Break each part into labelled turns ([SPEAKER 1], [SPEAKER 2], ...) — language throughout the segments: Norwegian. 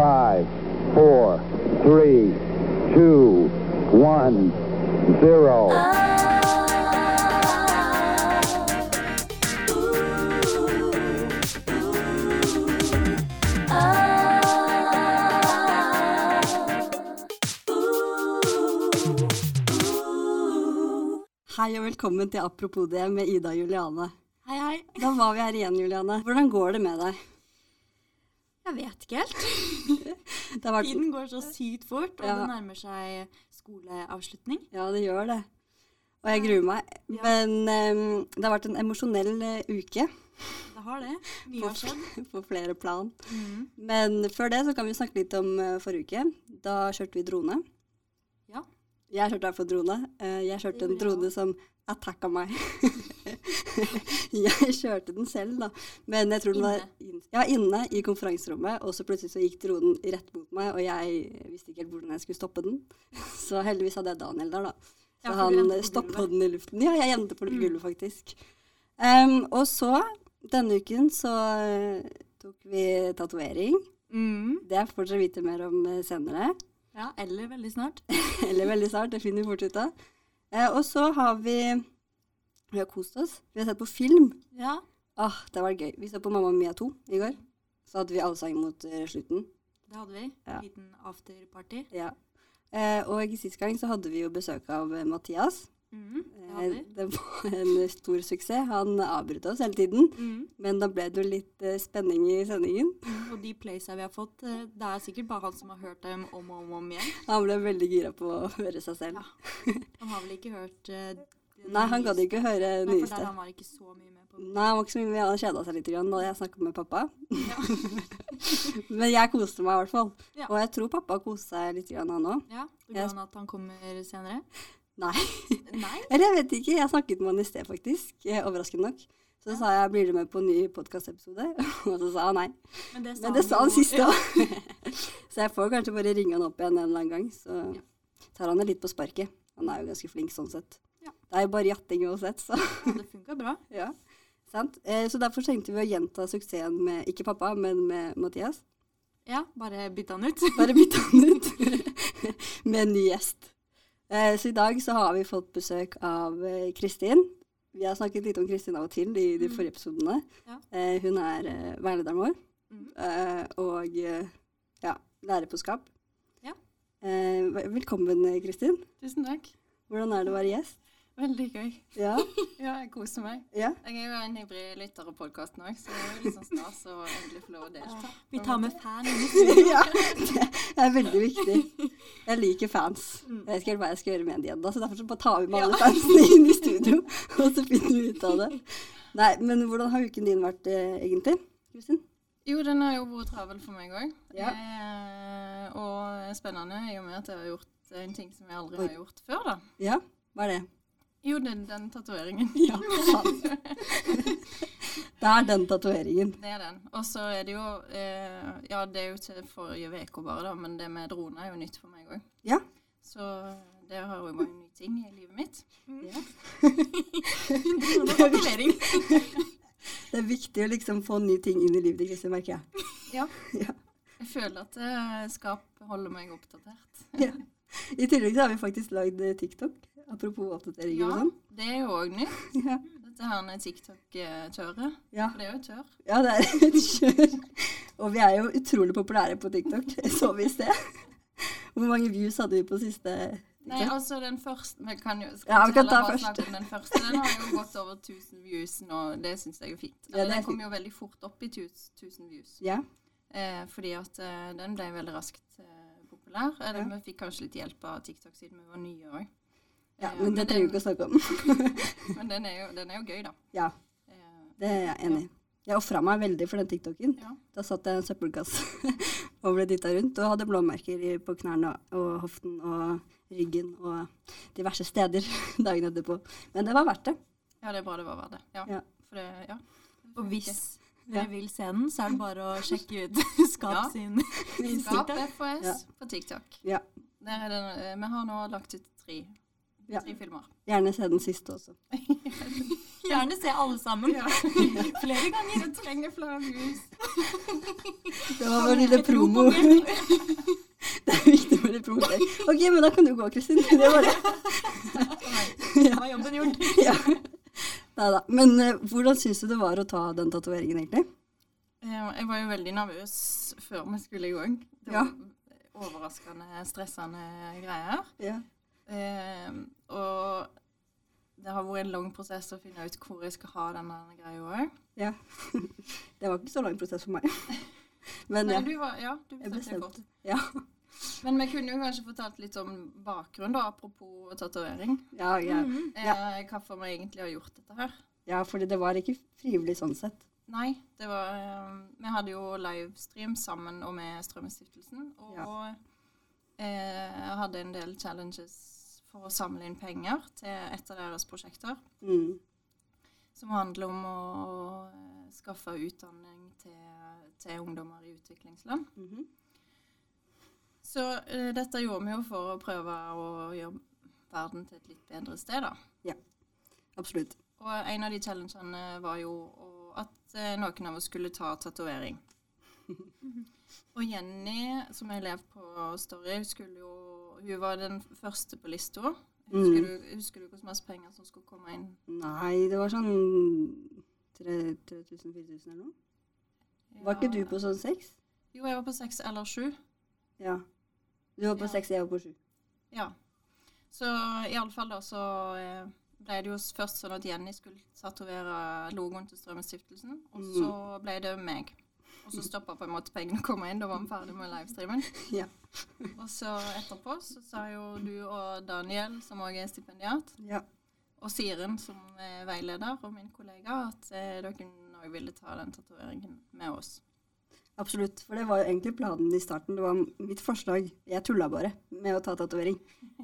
[SPEAKER 1] five, four, three, two, one, zero.
[SPEAKER 2] Hei og velkommen til Apropos det med Ida og Juliane.
[SPEAKER 3] Hei, hei.
[SPEAKER 2] Da var vi her igjen, Juliane. Hvordan går det med deg?
[SPEAKER 3] Jeg vet ikke helt.
[SPEAKER 2] Det har vært...
[SPEAKER 3] Tiden går så sykt fort, og
[SPEAKER 2] Ja.
[SPEAKER 3] det nærmer seg skoleavslutning.
[SPEAKER 2] Ja, det gjør det. Og jeg gruer meg.
[SPEAKER 3] Ja.
[SPEAKER 2] Men ehm, det har vært en emosjonell eh, uke
[SPEAKER 3] Det har det. Mye
[SPEAKER 2] på,
[SPEAKER 3] har skjedd. Mm.
[SPEAKER 2] på flere plan. Men før det så kan vi snakke litt om eh, forrige uke. Da kjørte vi drone.
[SPEAKER 3] Ja.
[SPEAKER 2] Jeg kjørte i hvert fall drone. Eh, Jeg
[SPEAKER 3] Det
[SPEAKER 2] kjørte en
[SPEAKER 3] gjorde jeg
[SPEAKER 2] drone som attacka meg. jeg kjørte den selv, da. Men jeg tror den var inne. Ja, inne i konferanserommet. Og så plutselig så gikk dronen rett mot meg, og jeg visste ikke helt hvordan jeg skulle stoppe den. Så heldigvis hadde jeg Daniel der, da. Så
[SPEAKER 3] Ja, for du
[SPEAKER 2] han
[SPEAKER 3] endte på
[SPEAKER 2] stoppa
[SPEAKER 3] gulvet. Mm.
[SPEAKER 2] den i luften. Ja, jeg endte på gulvet, faktisk. Em, og så, denne uken, så eh, tok vi tatovering.
[SPEAKER 3] Mm.
[SPEAKER 2] Det får dere vite mer om eh, senere.
[SPEAKER 3] Ja, eller veldig snart.
[SPEAKER 2] Eller veldig snart, det finner vi fort ut av. Eh, og så har vi Vi har kost oss. Vi har sett på film.
[SPEAKER 3] Ja.
[SPEAKER 2] Ah, det var gøy. Vi så på Mamma Mia 2 i går. Så hadde vi allsang mot eh, slutten.
[SPEAKER 3] Det hadde vi.
[SPEAKER 2] Ja.
[SPEAKER 3] En liten afterparty.
[SPEAKER 2] Ja. Eh, og sist gang så hadde vi jo besøk av eh, Mathias.
[SPEAKER 3] Mm. Det hadde
[SPEAKER 2] Eh,
[SPEAKER 3] vi.
[SPEAKER 2] det var en stor suksess. Han avbrøt oss hele tiden.
[SPEAKER 3] Mm.
[SPEAKER 2] Men da ble det jo litt eh, spenning i sendingen.
[SPEAKER 3] Og de playsa vi har fått, eh, det er sikkert bare han som har hørt dem om og om, og om igjen.
[SPEAKER 2] Han ble veldig gira på å høre seg selv.
[SPEAKER 3] Ja. Han har vel ikke hørt eh, den
[SPEAKER 2] Nei, han gadd
[SPEAKER 3] nyeste-
[SPEAKER 2] ikke å høre
[SPEAKER 3] Nei, for
[SPEAKER 2] nyeste. Mm.
[SPEAKER 3] der han var ikke så mye med på.
[SPEAKER 2] Nei, han var ikke så mye med. Han kjeda seg litt grann da jeg snakka med pappa. Men jeg koste meg i hvert fall.
[SPEAKER 3] Ja.
[SPEAKER 2] Og jeg tror pappa koste seg litt grann, han òg.
[SPEAKER 3] Ja, Det
[SPEAKER 2] Jeg-
[SPEAKER 3] går an at han kommer senere?
[SPEAKER 2] Nei.
[SPEAKER 3] Nei?
[SPEAKER 2] Eller jeg vet ikke. Jeg snakket med han i sted, faktisk. eh, Overraskende nok. Så sa jeg 'blir du med på en ny podkastepisode?' Og så sa han nei.
[SPEAKER 3] Men det sa
[SPEAKER 2] Men det sa han
[SPEAKER 3] jo-
[SPEAKER 2] siste òg. Så jeg får kanskje bare ringe han opp igjen en eller annen gang. Så tar han det litt på sparket. Han er jo ganske flink sånn sett.
[SPEAKER 3] Ja.
[SPEAKER 2] Det er jo bare jatting uansett, så
[SPEAKER 3] Ja, det funka bra.
[SPEAKER 2] ja. Sant? Eh, Så derfor tenkte vi å gjenta suksessen med ikke pappa, men med Mathias.
[SPEAKER 3] Ja, bare bytte han ut.
[SPEAKER 2] Bare bytte han ut med en ny gjest. Eh, Så i dag så har vi fått besøk av eh, Kristin. Vi har snakket litt om Kristin av og til i de forrige episodene.
[SPEAKER 3] Mm. Ja.
[SPEAKER 2] Eh, Hun er eh, veilederen vår
[SPEAKER 3] Mhm.
[SPEAKER 2] eh, og eh, ja, lærer på skap.
[SPEAKER 3] Ja.
[SPEAKER 2] Eh, vel- Velkommen, eh, Kristin.
[SPEAKER 4] Tusen takk.
[SPEAKER 2] Hvordan er det å være gjest?
[SPEAKER 4] Veldig gøy.
[SPEAKER 2] Ja,
[SPEAKER 4] Ja, jeg koser meg.
[SPEAKER 2] ja.
[SPEAKER 4] Jeg er jo en ivrig lytter av podkasten òg, så det er jo litt sånn stas å endelig få lov å delta.
[SPEAKER 3] Vi tar med fan inn i studio.
[SPEAKER 2] ja det er veldig viktig. Jeg liker fans. Jeg vet ikke helt hva jeg skal gjøre med de ennå, så derfor så bare tar vi med alle fansene inn i studio, og så finner vi ut av det. Nei, men hvordan har uken din vært eh, egentlig, Kristin?
[SPEAKER 4] Jo, den har jo vært travel for meg òg.
[SPEAKER 2] Ja.
[SPEAKER 4] Eh, og spennende i og med at jeg har gjort en ting som jeg aldri har gjort før, da.
[SPEAKER 2] Ja, hva er det?
[SPEAKER 4] Jo, det er den tatoveringen.
[SPEAKER 2] Ja, sant. Det er den tatoveringen.
[SPEAKER 4] Det er den. Og så er det jo eh, Ja, det er jo ikke forrige uke bare, da, men det med drone er jo nytt for meg òg.
[SPEAKER 2] Ja.
[SPEAKER 4] Så det har jo vært en ny ting i livet mitt.
[SPEAKER 3] Tatovering.
[SPEAKER 2] Det er viktig å liksom få nye ting inn i livet ditt, Kristin, merker jeg.
[SPEAKER 4] Ja.
[SPEAKER 2] Ja.
[SPEAKER 4] Jeg føler at eh, skap holder meg oppdatert.
[SPEAKER 2] Ja. I tillegg så har vi faktisk lagd eh, TikTok, apropos oppdateringer og sånn.
[SPEAKER 4] det er jo òg nytt.
[SPEAKER 2] Ja.
[SPEAKER 4] Dette her med TikTok-kjøret.
[SPEAKER 2] ja.
[SPEAKER 4] For det er jo et kjør.
[SPEAKER 2] Ja, det er et kjør. Og vi er jo utrolig populære på TikTok, så vi i sted. Hvor mange views hadde vi på siste
[SPEAKER 4] Nei, altså den første Vi kan jo skal
[SPEAKER 2] Ja, vi
[SPEAKER 4] ikke
[SPEAKER 2] kan
[SPEAKER 4] heller
[SPEAKER 2] ta
[SPEAKER 4] bare
[SPEAKER 2] først.
[SPEAKER 4] snakke om Den første Den har jo gått over 1000 views nå, det syns jeg er fint.
[SPEAKER 2] Ja, det er
[SPEAKER 4] den kom
[SPEAKER 2] fint.
[SPEAKER 4] jo veldig fort opp i 1000 views.
[SPEAKER 2] Ja.
[SPEAKER 4] Eh, fordi at eh, den ble veldig raskt eh, populær. Eller vi fikk kanskje litt hjelp av TikTok siden vi var nye òg.
[SPEAKER 2] ja men det trenger vi ikke å snakke om.
[SPEAKER 4] Men den er jo, den er jo gøy, da.
[SPEAKER 2] Ja,
[SPEAKER 4] Eh,
[SPEAKER 2] det er jeg enig i. Jeg ofra meg veldig for den TikToken.
[SPEAKER 4] Ja.
[SPEAKER 2] Da satt jeg i en søppelkasse og ble dytta rundt. Og hadde blåmerker i- på knærne og hoften og ryggen og diverse steder dagen etterpå. Men det var verdt det.
[SPEAKER 4] Ja, det er bra det var verdt det. Ja.
[SPEAKER 2] Ja.
[SPEAKER 4] For det, ja.
[SPEAKER 3] Og hvis
[SPEAKER 2] Ja.
[SPEAKER 3] dere vil se den, så er det bare å sjekke ut Skap
[SPEAKER 4] Ja.
[SPEAKER 3] sin
[SPEAKER 4] Skap
[SPEAKER 3] Instagram.
[SPEAKER 4] FHS
[SPEAKER 2] Ja.
[SPEAKER 4] på TikTok.
[SPEAKER 2] Ja.
[SPEAKER 4] Der er den, eh, vi har nå lagt ut tre,
[SPEAKER 2] Ja.
[SPEAKER 4] tre filmer.
[SPEAKER 2] Gjerne se den siste også.
[SPEAKER 3] Gjerne se alle sammen. Flere ganger.
[SPEAKER 4] Jeg trenger flere views.
[SPEAKER 2] Det var vår lille promo. Det er viktig med litt promo. Ok, men da kan du gå, Kristin. Det var det.
[SPEAKER 3] Da var jobben gjort.
[SPEAKER 2] Ja. Neida. Men eh, hvordan syns du det var å ta den tatoveringen, egentlig?
[SPEAKER 4] Ja, Eh, Jeg var jo veldig nervøs før vi skulle i gang. Det
[SPEAKER 2] Ja.
[SPEAKER 4] var overraskende stressende greier.
[SPEAKER 2] Ja.
[SPEAKER 4] Eh, og det har vært en lang prosess å finne ut hvor jeg skal ha denne greia òg.
[SPEAKER 2] ja. Det var ikke så lang prosess for meg. Men ja.
[SPEAKER 4] du var, ja, du
[SPEAKER 2] Jeg
[SPEAKER 4] bestemte deg
[SPEAKER 2] bestemte.
[SPEAKER 4] godt.
[SPEAKER 2] Ja,
[SPEAKER 4] Men vi kunne jo kanskje fortalt litt om bakgrunn, da, apropos tatovering.
[SPEAKER 2] ja, ja.
[SPEAKER 4] Eh, hvorfor vi egentlig har gjort dette her.
[SPEAKER 2] ja fordi det var ikke frivillig sånn sett.
[SPEAKER 4] Nei, det var eh, Vi hadde jo livestream sammen og med Strømmestiftelsen. Og eh, hadde en del challenges for å samle inn penger til et av deres prosjekter.
[SPEAKER 2] Mm.
[SPEAKER 4] Som handler om å eh, skaffe utdanning til, til ungdommer i utviklingsland.
[SPEAKER 2] Mhm.
[SPEAKER 4] Så eh, dette gjorde vi jo for å prøve å gjøre verden til et litt bedre sted, da.
[SPEAKER 2] Absolutt.
[SPEAKER 4] Og en av de challengene var jo å- at eh, noen av oss skulle ta tatovering. Og Jenny, som er elev på Story, hun skulle jo Hun var den første på lista. Husker,
[SPEAKER 2] Mm.
[SPEAKER 4] du, husker du hvor mye penger som skulle komme inn?
[SPEAKER 2] Nei, det var sånn 3000-4000 eller noe. Var ikke du
[SPEAKER 4] Ja.
[SPEAKER 2] på sånn seks?
[SPEAKER 4] Jo, jeg var på seks eller sju.
[SPEAKER 2] Ja. Du var på
[SPEAKER 4] Ja.
[SPEAKER 2] seks, jeg var på sju.
[SPEAKER 4] Ja. Så iallfall da så eh, ble det jo s- først sånn at Jenny skulle tatovere logoen til Strømmestiftelsen, og
[SPEAKER 2] Mm.
[SPEAKER 4] så ble det meg. Og så stoppa på en måte pengene å komme inn, da var vi ferdig med livestreamen.
[SPEAKER 2] Ja.
[SPEAKER 4] Og så etterpå så sa jo du og Daniel, som òg er stipendiat,
[SPEAKER 2] Ja.
[SPEAKER 4] og Siren, som er veileder, og min kollega, at eh, dere òg ville ta den tatoveringen med oss.
[SPEAKER 2] Absolutt. For det var jo egentlig planen i starten. Det var mitt forslag. Jeg tulla bare med å ta tatovering.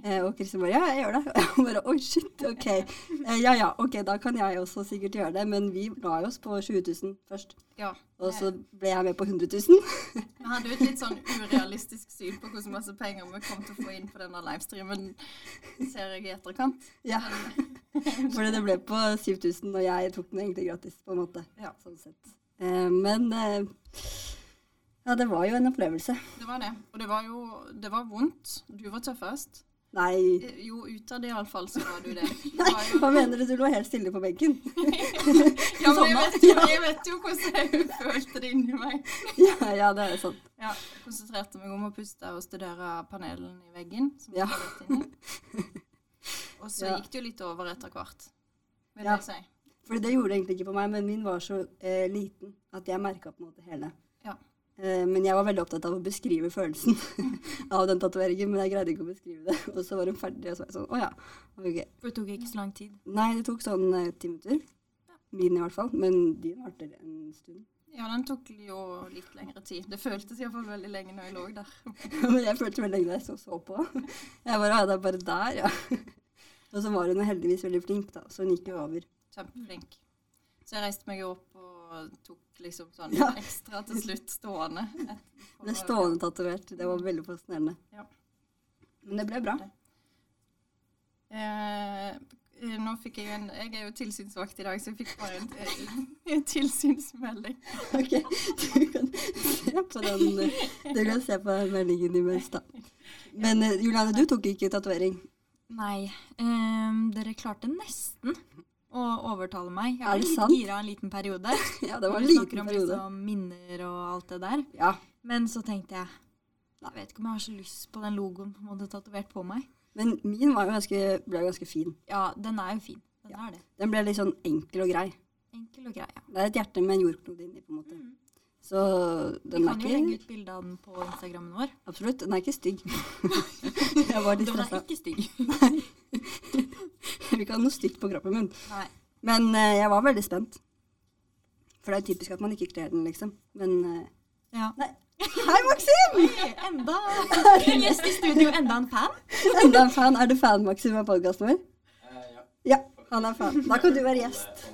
[SPEAKER 2] Eh, og Kristin bare ja, jeg gjør det. Og jeg bare oi, shit, ok. Eh, ja ja, ok, da kan jeg også sikkert gjøre det. Men vi la jo oss på 20 000 først.
[SPEAKER 4] Ja.
[SPEAKER 2] Og så ble jeg med på 100 000.
[SPEAKER 4] Vi hadde jo et litt sånn urealistisk syn på hvordan masse penger vi kom til å få inn på denne livestreamen, ser jeg i etterkant.
[SPEAKER 2] Ja. Fordi det ble på 7000, og jeg tok den egentlig gratis, på en måte.
[SPEAKER 4] Ja.
[SPEAKER 2] Sånn sett. Eh, men eh, ja, det var jo en opplevelse.
[SPEAKER 4] Det var det. Og det var jo det var vondt. Du var tøffest.
[SPEAKER 2] Nei,
[SPEAKER 4] Eh, Jo, utad iallfall så var du det. det
[SPEAKER 2] Nei, hva
[SPEAKER 4] var jo,
[SPEAKER 2] mener sånn du? Du lå helt stille på benken.
[SPEAKER 4] ja, men jeg vet, jo, jeg vet jo hvordan jeg følte det inni meg.
[SPEAKER 2] Ja, ja, det er sant.
[SPEAKER 4] Ja, jeg konsentrerte meg om å puste og studere panelen i veggen. Som
[SPEAKER 2] Ja.
[SPEAKER 4] jeg var rett inni. Og så
[SPEAKER 2] Ja.
[SPEAKER 4] gikk det jo litt over etter hvert, vil
[SPEAKER 2] Ja.
[SPEAKER 4] jeg si.
[SPEAKER 2] Fordi det gjorde det egentlig ikke på meg, men min var så eh, liten at jeg merka på en måte hele.
[SPEAKER 4] Ja.
[SPEAKER 2] Eh, men jeg var veldig opptatt av å beskrive følelsen av den tatoveringen, men jeg greide ikke å beskrive det. Og så var hun ferdig, og så var jeg sånn Å ja. ok».
[SPEAKER 3] For det tok ikke så lang tid.
[SPEAKER 2] Nei, det tok sånn eh, ti minutter. Min i hvert fall. Men din varte en stund.
[SPEAKER 4] Ja, den tok jo litt lengre tid. Det føltes iallfall veldig lenge når jeg lå der.
[SPEAKER 2] men jeg følte veldig lenge da jeg så, så på. Jeg bare «Å, det er bare der, ja. Og så var hun heldigvis veldig flink, da, så hun gikk jo over.
[SPEAKER 4] Kjempeflink. Så jeg reiste meg jo opp og tok liksom sånn
[SPEAKER 2] Ja.
[SPEAKER 4] ekstra til slutt stående. Et-
[SPEAKER 2] Ble stående tatovert. Det var veldig fascinerende.
[SPEAKER 4] Ja.
[SPEAKER 2] Men det ble bra.
[SPEAKER 4] Eh, eh, nå fikk jeg jo en Jeg er jo tilsynsvakt i dag, så jeg fikk bare en, eh, en tilsynsmelding.
[SPEAKER 2] Ok, du kan se på den, eh, du kan se på den meldingen imens, da. Men eh, Juliane, du tok ikke tatovering.
[SPEAKER 3] Nei, ehm, dere klarte nesten å overtale meg.
[SPEAKER 2] Er
[SPEAKER 3] Jeg var
[SPEAKER 2] det
[SPEAKER 3] litt
[SPEAKER 2] sant?
[SPEAKER 3] gira en liten periode.
[SPEAKER 2] Ja, det var en
[SPEAKER 3] Vi snakker
[SPEAKER 2] liten
[SPEAKER 3] om
[SPEAKER 2] periode.
[SPEAKER 3] Liksom minner og alt det der.
[SPEAKER 2] Ja.
[SPEAKER 3] Men så tenkte jeg jeg vet ikke om jeg har så lyst på den logoen på en måte tatovert på meg.
[SPEAKER 2] Men min var jo ganske, ble jo ganske fin.
[SPEAKER 3] Ja, den er jo fin. Den
[SPEAKER 2] Ja.
[SPEAKER 3] er det.
[SPEAKER 2] Den ble litt sånn enkel og grei.
[SPEAKER 3] Enkel og grei. Ja.
[SPEAKER 2] Det er et hjerte med en jordklode inni, på en måte. Så
[SPEAKER 3] Mm. Vi
[SPEAKER 2] den er
[SPEAKER 3] kan jo legge
[SPEAKER 2] ikke
[SPEAKER 3] ut bilde av den på Instagrammen vår.
[SPEAKER 2] Absolutt, den er ikke stygg. Jeg var litt
[SPEAKER 3] Den er
[SPEAKER 2] stressa.
[SPEAKER 3] ikke stygg.
[SPEAKER 2] Vi ikke ha noe stygt på kroppen min.
[SPEAKER 3] Nei.
[SPEAKER 2] Men eh, jeg var veldig spent. For det er jo typisk at man ikke kler den, liksom. Men eh,
[SPEAKER 3] Ja.
[SPEAKER 2] Nei. Hei, Maxim!
[SPEAKER 3] Enda en gjest i studio, enda en fan.
[SPEAKER 2] Enda en fan. Er du fan, Maxim, av podkasten vår? Ja, han er fan. Da kan du være gjest.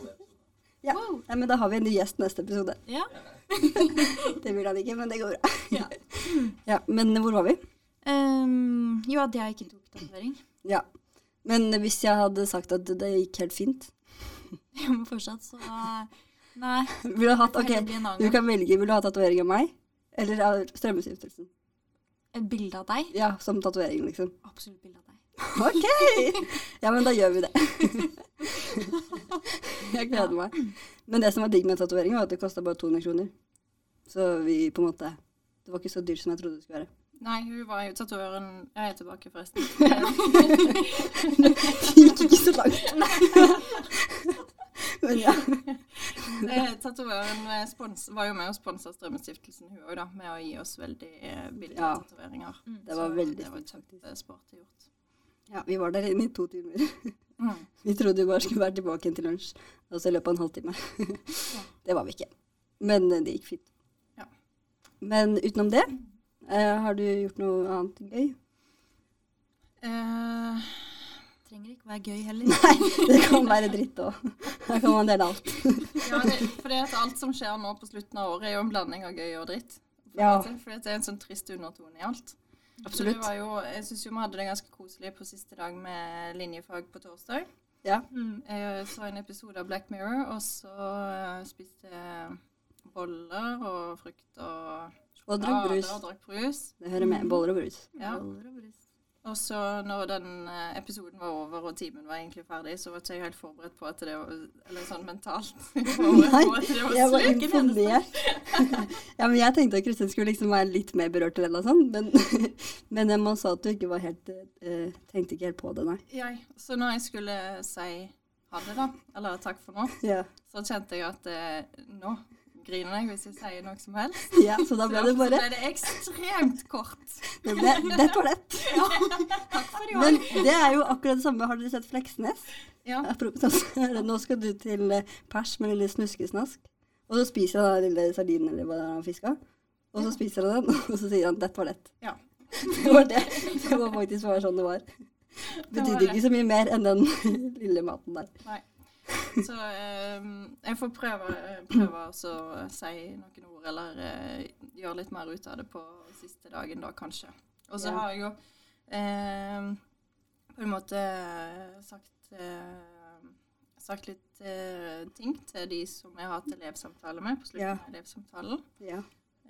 [SPEAKER 2] Ja. Nei, men da har vi en ny gjest neste episode.
[SPEAKER 3] Ja.
[SPEAKER 2] Det vil han ikke, men det går bra.
[SPEAKER 3] Ja.
[SPEAKER 2] Ja, Men hvor var vi?
[SPEAKER 3] Ehm, jo, at jeg ikke tok tatovering.
[SPEAKER 2] Ja. Men hvis jeg hadde sagt at det gikk helt fint
[SPEAKER 3] hjemme fortsatt, så eh, Nei.
[SPEAKER 2] Vil du ha hatt,
[SPEAKER 3] det får heller
[SPEAKER 2] ok,
[SPEAKER 3] bli en annen
[SPEAKER 2] du
[SPEAKER 3] gang.
[SPEAKER 2] kan velge, vil du ha tatovering av meg? Eller av Strømmestiftelsen?
[SPEAKER 3] Et bilde av deg?
[SPEAKER 2] Ja, som tatovering, liksom.
[SPEAKER 3] Absolutt bilde av deg.
[SPEAKER 2] Ok! Ja, men da gjør vi det. Jeg gleder meg. Men det som var digg med tatoveringen, var at det kosta bare 200 kroner. Så vi på en måte Det var ikke så dyrt som jeg trodde det skulle være.
[SPEAKER 4] Nei, hun var jo tatovøren Jeg er tilbake, forresten. Eh,
[SPEAKER 2] Det gikk ikke så langt. Men ja.
[SPEAKER 4] Eh, Tatovøren eh, spons- var jo med og sponsa Strømmestiftelsen, hun òg, da, med å gi oss veldig eh, billige
[SPEAKER 2] Ja.
[SPEAKER 4] tatoveringer.
[SPEAKER 2] Det var
[SPEAKER 4] Så
[SPEAKER 2] veldig
[SPEAKER 4] Det var
[SPEAKER 2] fint,
[SPEAKER 4] kjempesporty gjort.
[SPEAKER 2] ja. Vi var der inne i to timer.
[SPEAKER 4] Mm.
[SPEAKER 2] Vi trodde vi bare skulle være tilbake igjen til lunsj, altså i løpet av en halvtime. Det var vi ikke. Men eh, det gikk fint.
[SPEAKER 4] Ja.
[SPEAKER 2] Men utenom det, eh, har du gjort noe annet gøy?
[SPEAKER 4] Eh,
[SPEAKER 3] Trenger ikke være gøy heller.
[SPEAKER 2] Nei, det kan være dritt òg. Her kan man dele alt.
[SPEAKER 4] ja, det, fordi at alt som skjer nå på slutten av året, er jo en blanding av gøy og dritt.
[SPEAKER 2] Ja.
[SPEAKER 4] Fordi at det er en sånn trist undertone i alt. Så det
[SPEAKER 2] Absolutt.
[SPEAKER 4] var jo, jeg syns jo vi hadde det ganske koselig på siste dag med linjefag på torsdag.
[SPEAKER 2] Ja.
[SPEAKER 4] Jeg så en episode av Black Mirror, og så eh, spiste jeg boller og frukt og
[SPEAKER 2] Og drakk brus.
[SPEAKER 4] og drakk brus.
[SPEAKER 2] Ah, Det Mm. hører med. Boller og brus.
[SPEAKER 4] Ja.
[SPEAKER 3] Boller og brus.
[SPEAKER 4] Og så når den eh, episoden var over og timen var egentlig ferdig, så var ikke jeg helt forberedt på at det var Eller sånn mentalt. forberedt
[SPEAKER 2] Nei,
[SPEAKER 4] på at det var
[SPEAKER 2] jeg var
[SPEAKER 4] slutt.
[SPEAKER 2] imponert. Ja, men jeg tenkte at Kristin skulle liksom være litt mer berørt til det, og sånn, men, men når man sa at du ikke var helt eh, Tenkte ikke helt på det, nei.
[SPEAKER 4] Jeg, så når jeg skulle si ha det, da, eller takk for nå,
[SPEAKER 2] Ja,
[SPEAKER 4] så kjente jeg at eh, nå griner jeg hvis jeg sier noe som helst.
[SPEAKER 2] ja Så da ble det
[SPEAKER 4] Derfor
[SPEAKER 2] bare
[SPEAKER 4] ble det ekstremt kort.
[SPEAKER 2] det ble, Dett var lett.
[SPEAKER 4] for
[SPEAKER 2] Men det er jo akkurat det samme. Har dere sett Fleksnes?
[SPEAKER 4] Ja.
[SPEAKER 2] Apropos, altså, Nå skal du til eh, pers med lille snuskesnask. Og så spiser han den lille sardinen eller hva det er han fiska. Og så spiser han den, og så sier han 'dette var lett'.
[SPEAKER 4] Ja.
[SPEAKER 2] Det var det. Det var faktisk bare sånn det var. Betydde ikke så mye mer enn den lille maten der.
[SPEAKER 4] Nei. Så eh, jeg får prøve, prøve å så eh, si noen ord, eller eh, gjøre litt mer ut av det på siste dagen, da kanskje. Og så
[SPEAKER 2] Ja.
[SPEAKER 4] har jeg jo eh, på en måte sagt eh, Sagt litt eh, ting til de som jeg har hatt elevsamtale med på slutten
[SPEAKER 2] Ja.
[SPEAKER 4] av elevsamtalen.
[SPEAKER 2] Ja.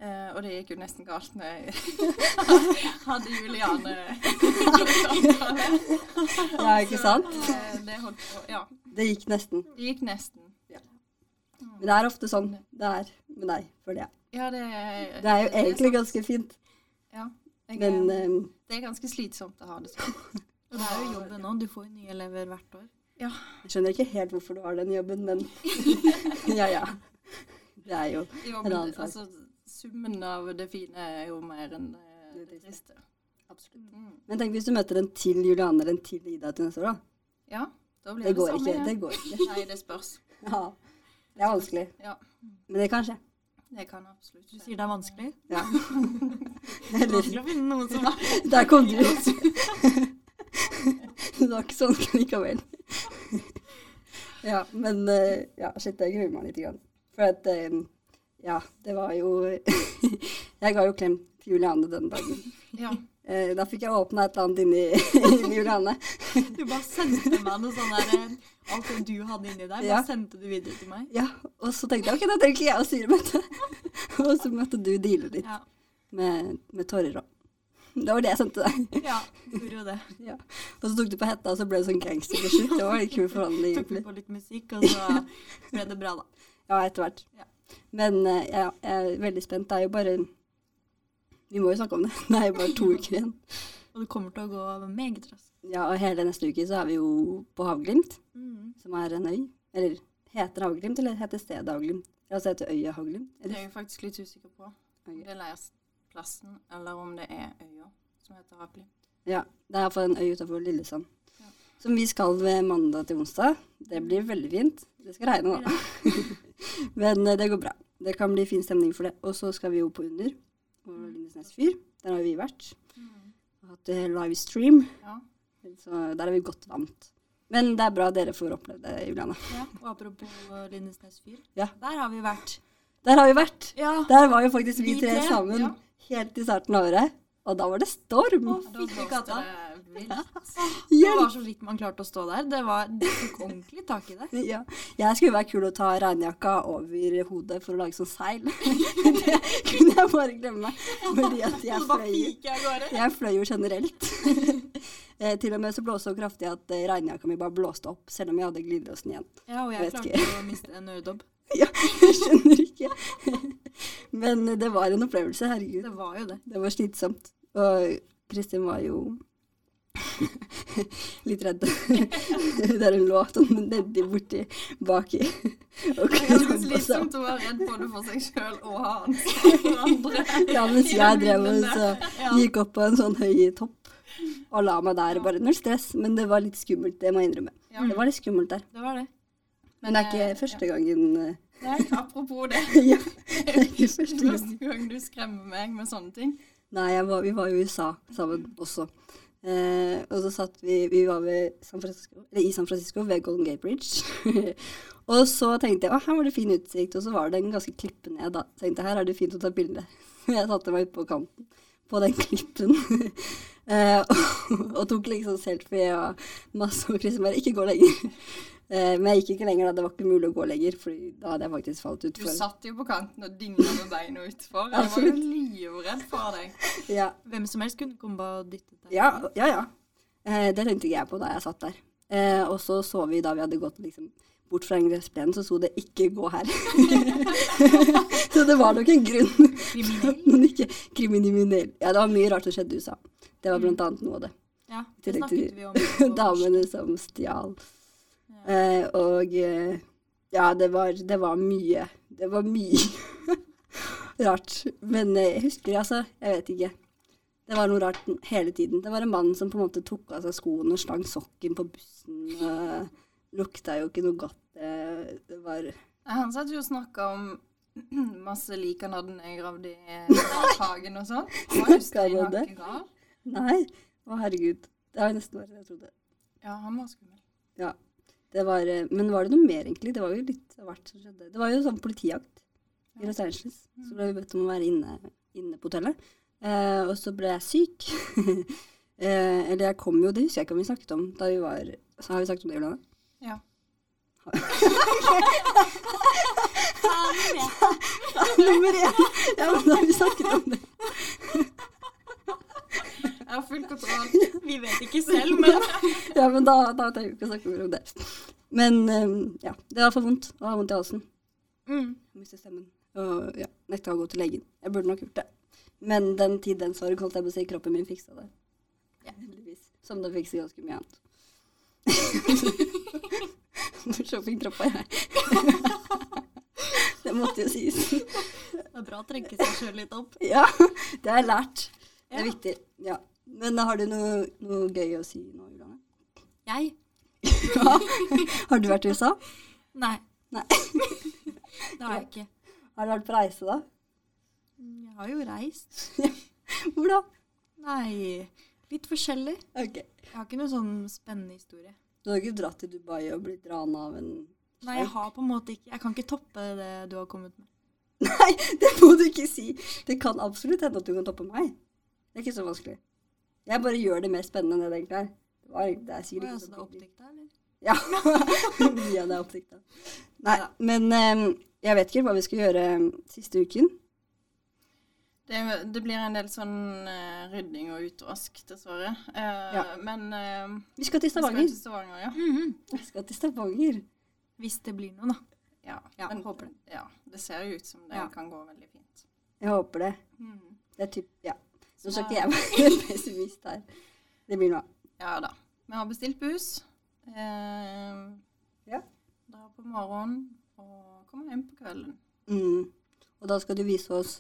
[SPEAKER 4] Eh, og det gikk jo nesten galt når jeg hadde Juliane samtale.
[SPEAKER 2] ja, ikke sant?
[SPEAKER 4] Så, eh, det holdt på. Ja.
[SPEAKER 2] Det gikk nesten.
[SPEAKER 4] Det gikk nesten.
[SPEAKER 2] Men det er ofte sånn det er med deg. For det.
[SPEAKER 4] Ja, det,
[SPEAKER 2] det er jo egentlig
[SPEAKER 4] sant.
[SPEAKER 2] ganske fint,
[SPEAKER 4] ja, jeg,
[SPEAKER 2] men eh,
[SPEAKER 4] Det er ganske slitsomt å ha det sånn.
[SPEAKER 3] Og det er jo jobben nå. Du får jo nye elever hvert år.
[SPEAKER 2] jeg skjønner ikke helt hvorfor du har den jobben, men ja ja. Det er jo
[SPEAKER 4] Jo,
[SPEAKER 2] En
[SPEAKER 4] men,
[SPEAKER 2] annen sak.
[SPEAKER 4] altså, summen av det fine er jo mer enn eh,
[SPEAKER 2] Det
[SPEAKER 4] det triste.
[SPEAKER 2] absolutt
[SPEAKER 4] Mm.
[SPEAKER 2] Men tenk hvis du møter en til Juliane eller en til Ida til neste år, da.
[SPEAKER 4] Ja, da blir
[SPEAKER 2] Det
[SPEAKER 4] det,
[SPEAKER 2] går
[SPEAKER 4] samme
[SPEAKER 2] ikke.
[SPEAKER 4] igjen.
[SPEAKER 2] Det går ikke.
[SPEAKER 4] Nei, det spørs.
[SPEAKER 2] Ja. Det er vanskelig.
[SPEAKER 4] Ja,
[SPEAKER 2] Men det kan skje.
[SPEAKER 4] det kan absolutt
[SPEAKER 3] Du
[SPEAKER 4] skje.
[SPEAKER 3] sier det er vanskelig.
[SPEAKER 2] Ja.
[SPEAKER 3] Det er vanskelig å finne noen som
[SPEAKER 2] Der kom du ut. Det var ikke sånn likevel. Ja, men eh, ja, shit, jeg gruer meg litt. Grann. For at eh, Ja, det var jo Jeg ga jo klem til Juliane den dagen.
[SPEAKER 4] Ja.
[SPEAKER 2] Eh, Da fikk jeg åpna et eller annet inni inni Juliane.
[SPEAKER 3] Du bare sendte meg noe sånn der eh, Alt det du hadde inni deg, bare
[SPEAKER 2] Ja.
[SPEAKER 3] sendte du videre til meg.
[SPEAKER 2] Ja, og så tenkte jeg ok, da trenger ikke jeg å styre med det. Og så måtte du deale litt
[SPEAKER 3] Ja.
[SPEAKER 2] med, med tårer og Det var det jeg sendte deg.
[SPEAKER 3] ja du gjorde jo det.
[SPEAKER 2] Ja. Og så tok du på hetta, og så ble du sånn gangster til slutt. Det var litt kul forhandling,
[SPEAKER 3] Tok
[SPEAKER 2] egentlig.
[SPEAKER 3] på litt musikk, og så ble det bra, da.
[SPEAKER 2] Ja, etter hvert.
[SPEAKER 3] Ja.
[SPEAKER 2] Men eh, ja, jeg er veldig spent. Det er jo bare Vi må jo snakke om det. Det er jo bare to uker igjen.
[SPEAKER 3] Og det kommer til å gå meget raskt.
[SPEAKER 2] Ja, og hele neste uke så er vi jo på Havglimt,
[SPEAKER 4] Mm.
[SPEAKER 2] som er en øy. Eller heter Havglimt, eller heter stedet Havglimt? Altså heter øya Havglimt?
[SPEAKER 4] Det er
[SPEAKER 2] Eller?
[SPEAKER 4] jeg faktisk litt usikker på. Om det er leirplassen, eller om det er øya som heter Havli.
[SPEAKER 2] Ja. Det er iallfall en øy utafor Lillesand.
[SPEAKER 4] Ja.
[SPEAKER 2] Som vi skal ved mandag til onsdag. Det blir veldig fint. Det skal regne, da. Men eh, det går bra. Det kan bli fin stemning for det. Og så skal vi jo på Under, på Lindesnes fyr. Der har vi vært. Og hatt eh, livestream.
[SPEAKER 4] Ja.
[SPEAKER 2] Så der er vi godt vant. Men det er bra dere får oppleve det, Juliane.
[SPEAKER 3] Ja, og apropos eh, Lindesnes fyr.
[SPEAKER 2] Ja.
[SPEAKER 3] Der har vi vært.
[SPEAKER 2] Der har vi vært.
[SPEAKER 3] Ja.
[SPEAKER 2] Der var jo faktisk vi
[SPEAKER 3] Vi
[SPEAKER 2] tre
[SPEAKER 3] tre,
[SPEAKER 2] sammen
[SPEAKER 4] ja.
[SPEAKER 2] helt i starten av året. Og da var det storm.
[SPEAKER 3] Å,
[SPEAKER 4] Da
[SPEAKER 3] fytti
[SPEAKER 4] blåste
[SPEAKER 3] gata.
[SPEAKER 4] det vilt.
[SPEAKER 2] Hjelp!
[SPEAKER 4] Det var så vidt man klarte å stå der. Det, var, det tok ordentlig tak i det.
[SPEAKER 2] Ja. Jeg skulle være kul å ta regnjakka over hodet for å lage sånn seil. det kunne jeg bare glemme. Fordi at jeg
[SPEAKER 4] Så bare
[SPEAKER 2] fløy,
[SPEAKER 4] piker jeg av gårde.
[SPEAKER 2] jeg fløy jo generelt. Eh, Til og med så blåste det så kraftig at eh, regnjakka mi bare blåste opp, selv om jeg hadde glidelåsen igjen.
[SPEAKER 4] Ja, og jeg
[SPEAKER 2] Vet
[SPEAKER 4] klarte å miste en øredobb.
[SPEAKER 2] Ja, jeg skjønner ikke. Men det var en opplevelse, herregud.
[SPEAKER 4] Det var jo det.
[SPEAKER 2] Det var slitsomt. Og Kristin var jo litt redd der hun lå sånn nedi borti baki. Og
[SPEAKER 4] Det er ganske
[SPEAKER 2] krabba seg opp.
[SPEAKER 4] slitsomt å være redd både for seg sjøl og han og andre.
[SPEAKER 2] Ja, mens
[SPEAKER 4] I
[SPEAKER 2] jeg
[SPEAKER 4] den
[SPEAKER 2] drev og
[SPEAKER 4] lille-
[SPEAKER 2] så gikk opp på en sånn høy topp og la meg der. Bare null stress. Men det var litt skummelt, det må jeg innrømme.
[SPEAKER 4] Ja.
[SPEAKER 2] Det var litt skummelt der.
[SPEAKER 4] Det var det.
[SPEAKER 2] Men det er
[SPEAKER 4] eh,
[SPEAKER 2] ikke første gangen eh,
[SPEAKER 4] Nei, apropos det.
[SPEAKER 2] Ja, det er ikke første gangen.
[SPEAKER 4] Første gang du skremmer meg med sånne ting.
[SPEAKER 2] Nei, jeg var, vi var jo i USA sammen også. Eh, og så satt vi Vi var ved San Francisco, eller i San Francisco ved Golden Gate Bridge. og så tenkte jeg å, her var det fin utsikt, og så var det en ganske klippe ned. da. Tenkte her er det fint å ta bilde. jeg satte meg ut på kanten på den klippen. eh, og, og tok liksom selfie og masse, og Kristin bare ikke gå lenger. eh, men jeg gikk ikke lenger da, det var ikke mulig å gå lenger, for da hadde jeg faktisk falt
[SPEAKER 4] Du
[SPEAKER 2] utfor.
[SPEAKER 4] satt jo på kanten og dingla med beina utfor. Jeg var jo
[SPEAKER 2] Absolutt.
[SPEAKER 4] livredd for deg.
[SPEAKER 2] Ja.
[SPEAKER 3] Hvem som helst kunne komme bare og dytte deg.
[SPEAKER 2] Ja, ja. ja. Eh, det tenkte ikke jeg på da jeg satt der. Eh, og så så vi da vi hadde gått liksom, bort fra en gressplenen, så sto det 'ikke gå her'. så det var nok en grunn.
[SPEAKER 3] Kriminell.
[SPEAKER 2] Men ikke kriminell. Ja, det var mye rart som skjedde i USA. Det var blant annet noe av det.
[SPEAKER 4] Ja,
[SPEAKER 2] I
[SPEAKER 3] Det
[SPEAKER 2] tillegg til
[SPEAKER 3] snakket vi om. på
[SPEAKER 2] damene som stjal. Eh, og eh, ja, det var, det var mye. Det var mye rart. Men eh, jeg husker det, altså. Jeg vet ikke. Det var noe rart n- hele tiden. Det var en mann som på en måte tok av seg skoene og slang sokken på bussen. eh, lukta jo ikke noe godt. eh, det var
[SPEAKER 4] Han satt jo og snakka om masse lik han hadde nedgravd i hagen og sånn. Han var
[SPEAKER 2] Snakket han
[SPEAKER 4] jo
[SPEAKER 2] om det?
[SPEAKER 4] steinhakkegal.
[SPEAKER 2] Nei. Å, herregud. Det har nesten vært det jeg trodde.
[SPEAKER 4] Ja, han var skummel.
[SPEAKER 2] Ja. Det var, eh, men var det noe mer, egentlig? Det var jo litt av hvert som skjedde. Det var jo sånn politijakt i Los Angeles. Så ble vi bedt om å være inne, inne på hotellet. Eh, og så ble jeg syk. eh, eller jeg kom jo, det husker jeg ikke om vi snakket om da vi var Så har vi snakket om det, Juliane?
[SPEAKER 4] Ja.
[SPEAKER 2] Nummer én! Ja, men da har vi snakket om det.
[SPEAKER 4] Jeg har full kontroll.
[SPEAKER 3] Vi vet ikke selv, men
[SPEAKER 2] Ja, men da, da trenger vi ikke å snakke mer om det. Men eh, ja, det var for vondt. Og har vondt i halsen.
[SPEAKER 4] Mm.
[SPEAKER 2] Jeg mistet stemmen. Og ja, nekta å gå til legen. Jeg burde nok gjort det. Men den tid, den sorg, holdt jeg på å si, kroppen min fiksa det. Ja, heldigvis. Som den fikser ganske mye annet. Hvor shopping kroppa jeg. det måtte jo sies.
[SPEAKER 3] Det er bra å trekke seg sjøl litt opp.
[SPEAKER 2] Ja, det har jeg lært. Det er viktig. Ja. Men har du noe, noe gøy å si nå, Juliane?
[SPEAKER 3] Jeg?
[SPEAKER 2] Har du vært i USA?
[SPEAKER 3] Nei.
[SPEAKER 2] Nei.
[SPEAKER 3] Det har jeg ikke.
[SPEAKER 2] Har du vært på reise, da?
[SPEAKER 3] Jeg har jo reist.
[SPEAKER 2] Hvor da?
[SPEAKER 3] Nei, litt forskjellig.
[SPEAKER 2] Ok.
[SPEAKER 3] Jeg har ikke noen sånn spennende historie.
[SPEAKER 2] Du har ikke dratt til Dubai og blitt rana av en
[SPEAKER 3] Nei, jeg har på en måte ikke Jeg kan ikke toppe det du har kommet med.
[SPEAKER 2] Nei, det må du ikke si. Det kan absolutt hende at du kan toppe meg. Det er ikke så vanskelig. Jeg bare gjør det mer spennende enn det det egentlig er. Det, var, det er
[SPEAKER 3] Å,
[SPEAKER 2] sikkert
[SPEAKER 3] ja,
[SPEAKER 2] ikke
[SPEAKER 3] så
[SPEAKER 2] så
[SPEAKER 3] det er
[SPEAKER 2] vanskelig.
[SPEAKER 3] oppdikta, eller?
[SPEAKER 2] Ja. Mye av det er oppdikta. Nei, men eh, jeg vet ikke hva vi skal gjøre eh, siste uken.
[SPEAKER 4] Det, det blir en del sånn eh, rydding og utrask, dessverre. Eh,
[SPEAKER 2] Ja.
[SPEAKER 4] Men eh,
[SPEAKER 2] Vi skal til
[SPEAKER 4] vi skal
[SPEAKER 2] Stavanger.
[SPEAKER 4] til Stavanger, ja.
[SPEAKER 2] Vi skal til Stavanger.
[SPEAKER 3] Hvis det blir noe, da.
[SPEAKER 4] Ja,
[SPEAKER 3] Ja,
[SPEAKER 4] men,
[SPEAKER 3] håper det.
[SPEAKER 4] Ja, det ser jo ut som det
[SPEAKER 3] Ja.
[SPEAKER 4] kan gå veldig fint.
[SPEAKER 2] Jeg håper det.
[SPEAKER 4] Mm.
[SPEAKER 2] Det er typ, ja. Nå
[SPEAKER 4] Så
[SPEAKER 2] skal ikke jeg være pessimist her. Det blir noe av.
[SPEAKER 4] Ja da. Vi har bestilt buss. Eh,
[SPEAKER 2] Ja.
[SPEAKER 4] Drar på morgenen og kommer hjem på kvelden.
[SPEAKER 2] Mm. Og da skal du vise oss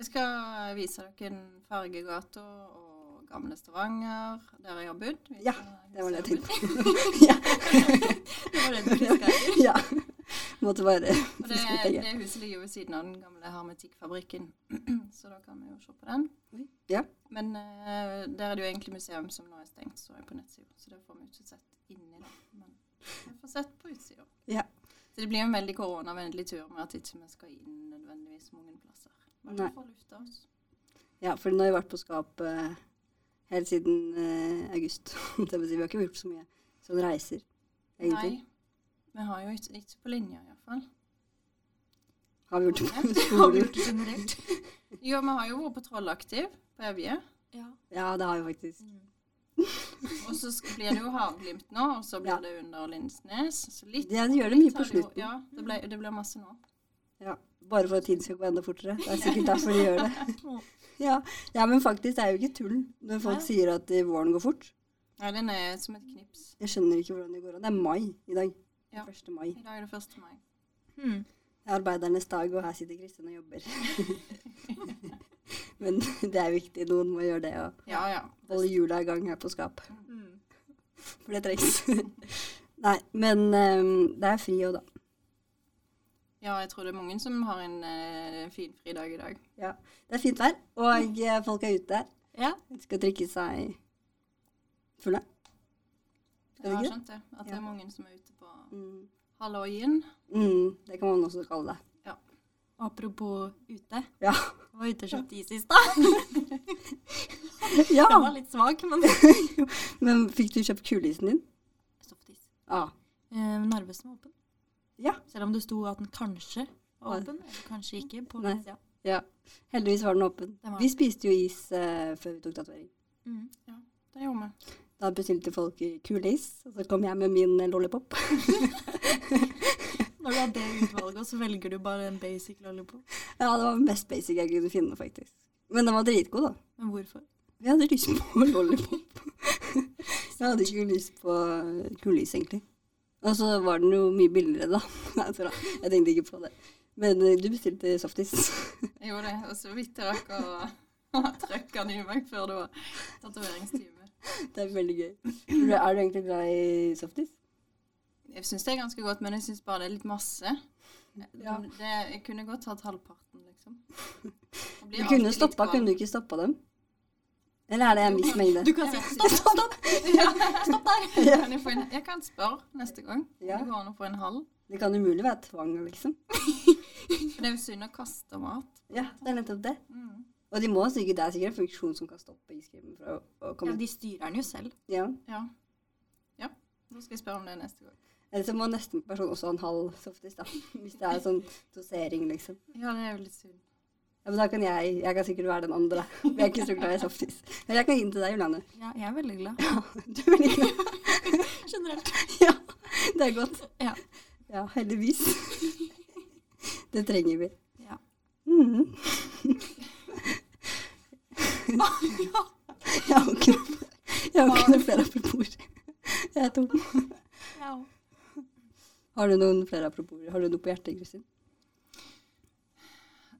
[SPEAKER 4] Jeg skal vise dere en fergegata og gamle Stavanger, der jeg har bodd. Vi
[SPEAKER 2] Ja,
[SPEAKER 4] skal-
[SPEAKER 2] Det var det jeg
[SPEAKER 4] vi skal-
[SPEAKER 2] tenkte på. ja.
[SPEAKER 3] Det var det du friska etter.
[SPEAKER 2] ja. Måtte bare friske ut,
[SPEAKER 4] Og det,
[SPEAKER 2] tenker jeg.
[SPEAKER 4] det huset ligger jo ved siden av den gamle hermetikkfabrikken, så da kan vi jo se på den.
[SPEAKER 2] Ja.
[SPEAKER 4] Men eh, der er det jo egentlig museum som nå er stengt, så jeg på nettsida. Så det får vi ikke sett inni, da. Men vi får sett på utsida.
[SPEAKER 2] Ja.
[SPEAKER 4] Så det blir en veldig koronavennlig tur med at ikke vi skal inn nødvendigvis mange plasser. Men
[SPEAKER 2] Nei.
[SPEAKER 4] vi får lufta oss.
[SPEAKER 2] Ja, for nå har vi vært på skap eh, Helt siden eh, august. Det vil si, vi har ikke gjort så mye sånne reiser, egentlig.
[SPEAKER 4] Nei. Vi har jo ikke, ikke på linja, iallfall.
[SPEAKER 2] Har vi gjort det på
[SPEAKER 3] Har vi
[SPEAKER 2] skolen?
[SPEAKER 3] gjort det generelt?
[SPEAKER 4] Jo, vi har jo vært på Trollaktiv på Evje.
[SPEAKER 3] Ja.
[SPEAKER 2] Ja, det har vi faktisk.
[SPEAKER 3] Mhm.
[SPEAKER 4] Og så sk- blir det jo Havglimt nå, og så blir
[SPEAKER 2] Ja.
[SPEAKER 4] det under Lindesnes. Så litt
[SPEAKER 2] Det gjør det mye på
[SPEAKER 4] har det jo-
[SPEAKER 2] slutten.
[SPEAKER 4] Ja, det ble, det ble masse nå.
[SPEAKER 2] Ja, bare for at tiden skal gå enda fortere. Det er sikkert derfor de gjør det. Ja, ja men faktisk, det er jo ikke tull når folk
[SPEAKER 3] Nei.
[SPEAKER 2] sier at eh, våren går fort.
[SPEAKER 4] Ja, den er som et knips.
[SPEAKER 2] Jeg skjønner ikke hvordan det går an. Det er mai i dag.
[SPEAKER 4] Ja.
[SPEAKER 2] 1. mai.
[SPEAKER 4] I dag er det 1. mai.
[SPEAKER 3] Hmm.
[SPEAKER 2] Det er arbeidernes dag, og her sitter Kristin og jobber. men det er viktig. Noen må gjøre det, og
[SPEAKER 4] Ja, ja.
[SPEAKER 2] holde hjula i gang her på skap. Mm.
[SPEAKER 3] Hmm.
[SPEAKER 2] For det trengs. Nei, men eh, det er fri òg, da.
[SPEAKER 4] Ja, jeg tror det er mange som har en eh, fin fridag i dag.
[SPEAKER 2] Ja. Det er fint vær, og eh, folk er ute.
[SPEAKER 3] Ja.
[SPEAKER 2] De skal drikke seg fulle.
[SPEAKER 4] Jeg
[SPEAKER 2] Skal
[SPEAKER 4] har
[SPEAKER 2] de ikke?
[SPEAKER 4] skjønt det. At det
[SPEAKER 2] Ja.
[SPEAKER 4] er mange som er ute på
[SPEAKER 2] Mm.
[SPEAKER 4] halvåyen.
[SPEAKER 2] Mm, det kan man også kalle det.
[SPEAKER 3] Apropos ute.
[SPEAKER 2] Ja.
[SPEAKER 3] Jeg var ute og kjøpte is i stad.
[SPEAKER 2] ja.
[SPEAKER 3] Den var litt svak, men
[SPEAKER 2] Men fikk du kjøpt kuleisen din?
[SPEAKER 3] softis.
[SPEAKER 2] Ja.
[SPEAKER 3] Eh, Narvesen var åpen.
[SPEAKER 2] Ja.
[SPEAKER 3] Selv om det sto at den kanskje var
[SPEAKER 2] Nei.
[SPEAKER 3] åpen, eller kanskje ikke. på
[SPEAKER 2] Nei.
[SPEAKER 3] innsida.
[SPEAKER 2] ja. Heldigvis var den åpen.
[SPEAKER 3] Den var-
[SPEAKER 2] Vi spiste jo is eh, før vi tok tatovering.
[SPEAKER 3] Mm.
[SPEAKER 4] Det gjorde vi.
[SPEAKER 2] Da bestilte folk kuleis, og så kom jeg med min eh, lollipop.
[SPEAKER 3] Når du har det utvalget, og så velger du bare en basic lollipop.
[SPEAKER 2] Ja, det var den mest basic jeg kunne finne, faktisk. Men den var dritgod, da.
[SPEAKER 3] Men hvorfor?
[SPEAKER 2] Jeg hadde lyst på lollipop. jeg hadde ikke lyst på kulelys, egentlig. Og så var den jo mye billigere, da. Nei, så da. Jeg tenkte ikke på det. Men eh, du bestilte softis.
[SPEAKER 4] Jeg gjorde det. Og så vidt jeg rakk å trykke den i meg før det var tatoveringstime.
[SPEAKER 2] det er veldig gøy. Er du egentlig glad i softis?
[SPEAKER 4] Jeg syns det er ganske godt, men jeg syns bare det er litt masse.
[SPEAKER 2] Ja.
[SPEAKER 4] Det, jeg kunne godt tatt halvparten, liksom. Det blir
[SPEAKER 2] Du kunne
[SPEAKER 4] alltid
[SPEAKER 3] altså,
[SPEAKER 4] litt
[SPEAKER 2] stoppa,
[SPEAKER 4] kvalm.
[SPEAKER 2] kunne du ikke stoppa dem? Eller er det en viss mengde?
[SPEAKER 3] Du kan si
[SPEAKER 4] Jeg vet
[SPEAKER 3] stopp,
[SPEAKER 4] ikke.
[SPEAKER 3] stopp, stopp!
[SPEAKER 4] Stopp der! Kan jeg, få en, jeg kan spørre neste gang.
[SPEAKER 2] Ja.
[SPEAKER 4] Det går an å få en halv.
[SPEAKER 2] Det kan umulig være tvang, liksom.
[SPEAKER 4] For det er jo synd å kaste mat.
[SPEAKER 2] Ja, det er nettopp det.
[SPEAKER 4] Mm.
[SPEAKER 2] Og de må sikkert, det er sikkert en funksjon som kan stoppe iskremen fra å, å
[SPEAKER 3] Ja,
[SPEAKER 2] komme ut.
[SPEAKER 3] de styrer den jo selv.
[SPEAKER 2] Ja.
[SPEAKER 4] Ja. ja. Da skal jeg spørre om det neste gang.
[SPEAKER 2] Eller så må nesten person også ha en halv softis, da. Hvis det er sånn dosering, liksom.
[SPEAKER 4] Ja, det er jo litt synd.
[SPEAKER 2] Ja, men da kan jeg Jeg kan sikkert være den andre. Jeg er ikke så glad i softis. Men jeg kan gi den til deg, Juliane.
[SPEAKER 3] Ja, jeg er veldig glad.
[SPEAKER 2] Du er veldig glad.
[SPEAKER 3] Generelt.
[SPEAKER 2] Ja, det er godt.
[SPEAKER 3] Ja.
[SPEAKER 2] Ja, heldigvis. Det trenger vi.
[SPEAKER 3] Ja.
[SPEAKER 2] Mhm. Jeg har ikke noe jeg har ikke noe flere apropos. Jeg er tom.
[SPEAKER 3] Ja.
[SPEAKER 2] Har du noen flere apropos? Har du noe på hjertet, Kristin?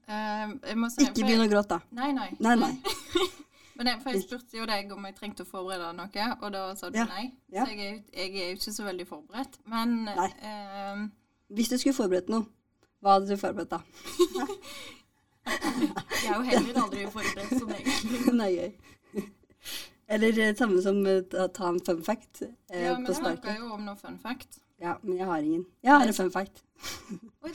[SPEAKER 4] Eh, jeg må si,
[SPEAKER 2] Ikke begynn å gråte, da.
[SPEAKER 4] Nei, nei.
[SPEAKER 2] Nei, nei.
[SPEAKER 4] Men jeg, for jeg spurte jo deg om jeg trengte å forberede noe, og da sa du
[SPEAKER 2] Ja.
[SPEAKER 4] nei.
[SPEAKER 2] Ja.
[SPEAKER 4] Så jeg er, jo- jeg er jo ikke så veldig forberedt. Men
[SPEAKER 2] Nei.
[SPEAKER 4] ehm,
[SPEAKER 2] Hvis du skulle forberedt noe, hva hadde du forberedt da?
[SPEAKER 3] Jeg er jo heller aldri forberedt som egentlig.
[SPEAKER 2] Den er gøy. Eller eh, samme som eh, ta ta en fun fact eh,
[SPEAKER 4] ja, men
[SPEAKER 2] på
[SPEAKER 4] det handler
[SPEAKER 2] sparket.
[SPEAKER 4] jo om noe fun fact.
[SPEAKER 2] Ja, men jeg har ingen. Jeg har en fun fact.
[SPEAKER 3] Oi,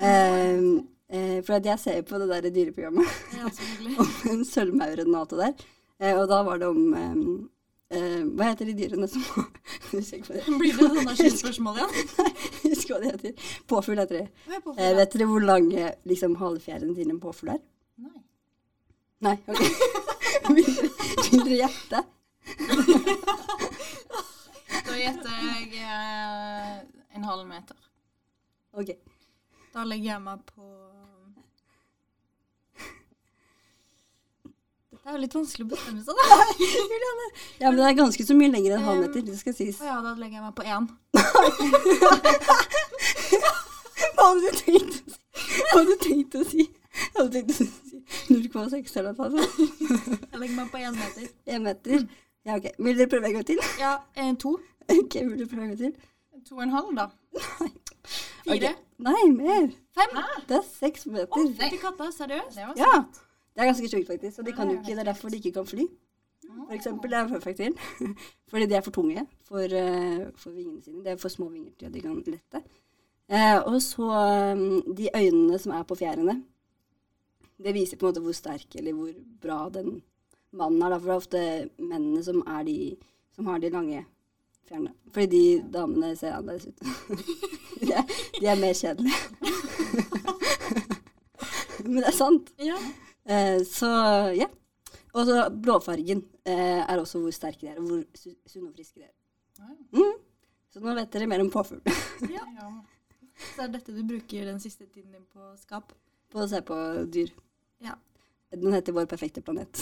[SPEAKER 2] Eh, eh, for at jeg ser på det der dyreprogrammet
[SPEAKER 3] det er altså hyggelig.
[SPEAKER 2] om en sølvmauren og alt det der. Eh, og da var det om eh, eh, Hva heter de dyrene som Jeg husker ikke hva det-
[SPEAKER 3] Blir det sånn sånne skyldspørsmål igjen?
[SPEAKER 2] jeg husker hva de heter. Påfugl heter de.
[SPEAKER 3] Hva er på
[SPEAKER 2] Eh, vet dere hvor lange liksom, halefjærene til en påfugl er?
[SPEAKER 4] Nei.
[SPEAKER 2] Nei, ok. Vil vil dere gjette?
[SPEAKER 4] Da gjetter jeg eh, en halv meter.
[SPEAKER 2] Ok.
[SPEAKER 3] Da legger jeg meg på Dette er jo litt vanskelig å bestemme seg, da.
[SPEAKER 2] Ja, men det er ganske så mye lenger enn en halvmeter, det skal sies.
[SPEAKER 3] Å ja, da legger jeg meg på én.
[SPEAKER 2] Hva hadde du tenkt å si? Hva hadde du tenkt å si? Jeg hadde tenkt å si 0,6 eller noe sånt.
[SPEAKER 3] Jeg legger meg på én meter.
[SPEAKER 2] En meter. Ja, ok. Vil dere prøve en gang til?
[SPEAKER 3] Ja, eh, to.
[SPEAKER 2] Ok, vil dere prøve en gang til?
[SPEAKER 4] To og en halv, da.
[SPEAKER 3] Fire.
[SPEAKER 2] Ok. Nei, mer.
[SPEAKER 3] Fem.
[SPEAKER 2] Det er seks meter.
[SPEAKER 3] Fytti katta, seriøst?
[SPEAKER 4] Det var
[SPEAKER 2] Ja. Det er ganske sjukt, faktisk. Og de kan jo ikke, det er derfor de ikke kan fly. For eksempel, det er perfekt til. Fordi de er for tunge for, eh, for vingene sine. Det er for små vinger til at de kan lette. Eh, og så eh, de øynene som er på fjærene, det viser på en måte hvor sterk eller hvor bra den mannen er, da. For det er ofte mennene som, er de, som har de lange fjærene. Fordi de damene ser annerledes ut. de, er, de er mer kjedelige. Men det er sant.
[SPEAKER 4] Ja.
[SPEAKER 2] Eh, så ja. Og så blåfargen eh, er også hvor sterke de er, og hvor su- sunne og friske de er.
[SPEAKER 4] Ja.
[SPEAKER 2] Mm. Så nå vet dere mer om påfugl.
[SPEAKER 4] Ja.
[SPEAKER 3] Så er dette du bruker den siste tiden din på skap?
[SPEAKER 2] På å se på dyr.
[SPEAKER 3] Ja.
[SPEAKER 2] Den heter Vår perfekte planet.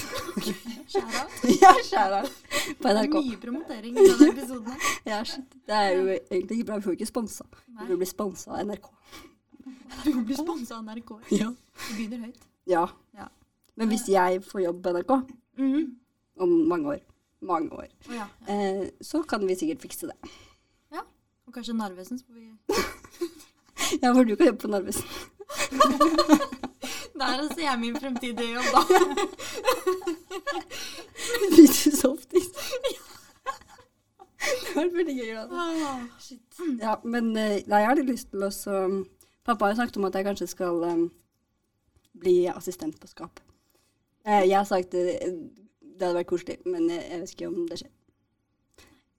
[SPEAKER 3] Skjæra?
[SPEAKER 2] ja, skjæra. På
[SPEAKER 3] Det er
[SPEAKER 2] NRK.
[SPEAKER 3] mye promotering i denne episoden. her.
[SPEAKER 2] Ja, shit. Det er jo egentlig ikke bra. Vi får jo ikke sponsa. Vi
[SPEAKER 3] Nei,
[SPEAKER 2] burde bli sponsa av NRK.
[SPEAKER 3] du blir sponsa av NRK.
[SPEAKER 2] Ja.
[SPEAKER 3] Du begynner høyt.
[SPEAKER 2] ja.
[SPEAKER 3] Ja.
[SPEAKER 2] Men hvis jeg får jobb på NRK Mm-hmm.
[SPEAKER 3] Mhm.
[SPEAKER 2] om mange år, mange år,
[SPEAKER 3] Å ja. ja.
[SPEAKER 2] eh, så kan vi sikkert fikse det.
[SPEAKER 3] Og kanskje Narvesen, så får vi
[SPEAKER 2] Ja, for du kan jobbe på Narvesen.
[SPEAKER 3] Der ser jeg min fremtidige jobb, da.
[SPEAKER 2] Hvis du softis. Det var veldig gøy. altså. Da. Ah, Ja, men eh, nei, jeg har litt lyst til å så- mm, Pappa har jo snakket om at jeg kanskje skal eh, bli assistent på Skap. Eh, jeg har sagt eh, det hadde vært koselig, men jeg, jeg vet ikke om det skjer.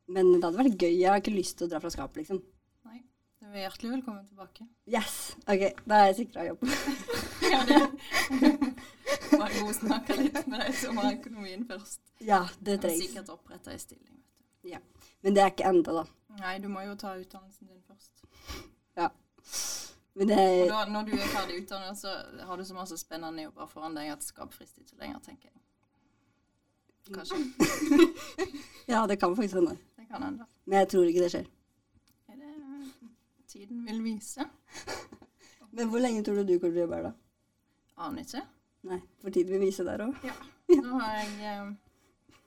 [SPEAKER 2] Men det hadde vært gøy. Jeg har ikke lyst til å dra fra Skap, liksom.
[SPEAKER 4] Nei. Du er hjertelig velkommen tilbake.
[SPEAKER 2] Yes! OK, da er jeg sikra jobb.
[SPEAKER 4] Ja, det. Bare god snakke litt med deg som har økonomien først.
[SPEAKER 2] Ja, det
[SPEAKER 4] Du har
[SPEAKER 2] trengs.
[SPEAKER 4] sikkert oppretta ei stilling. vet du.
[SPEAKER 2] Men det er ikke enda, da.
[SPEAKER 4] Nei, du må jo ta utdannelsen din først.
[SPEAKER 2] Men det
[SPEAKER 4] Og da, når du er ferdig utdannet, så har du så masse spennende jobber foran deg at skap frister ikke lenger, tenker jeg. Kanskje.
[SPEAKER 2] Ja, det kan faktisk hende.
[SPEAKER 4] Det kan hende.
[SPEAKER 2] Men jeg tror ikke det skjer.
[SPEAKER 4] Er det eh, tiden vil vise?
[SPEAKER 2] Men hvor lenge tror du du kommer til å jobbe her, da?
[SPEAKER 4] Aner ikke.
[SPEAKER 2] Nei, for tid vil vise der òg.
[SPEAKER 4] Nå har jeg eh,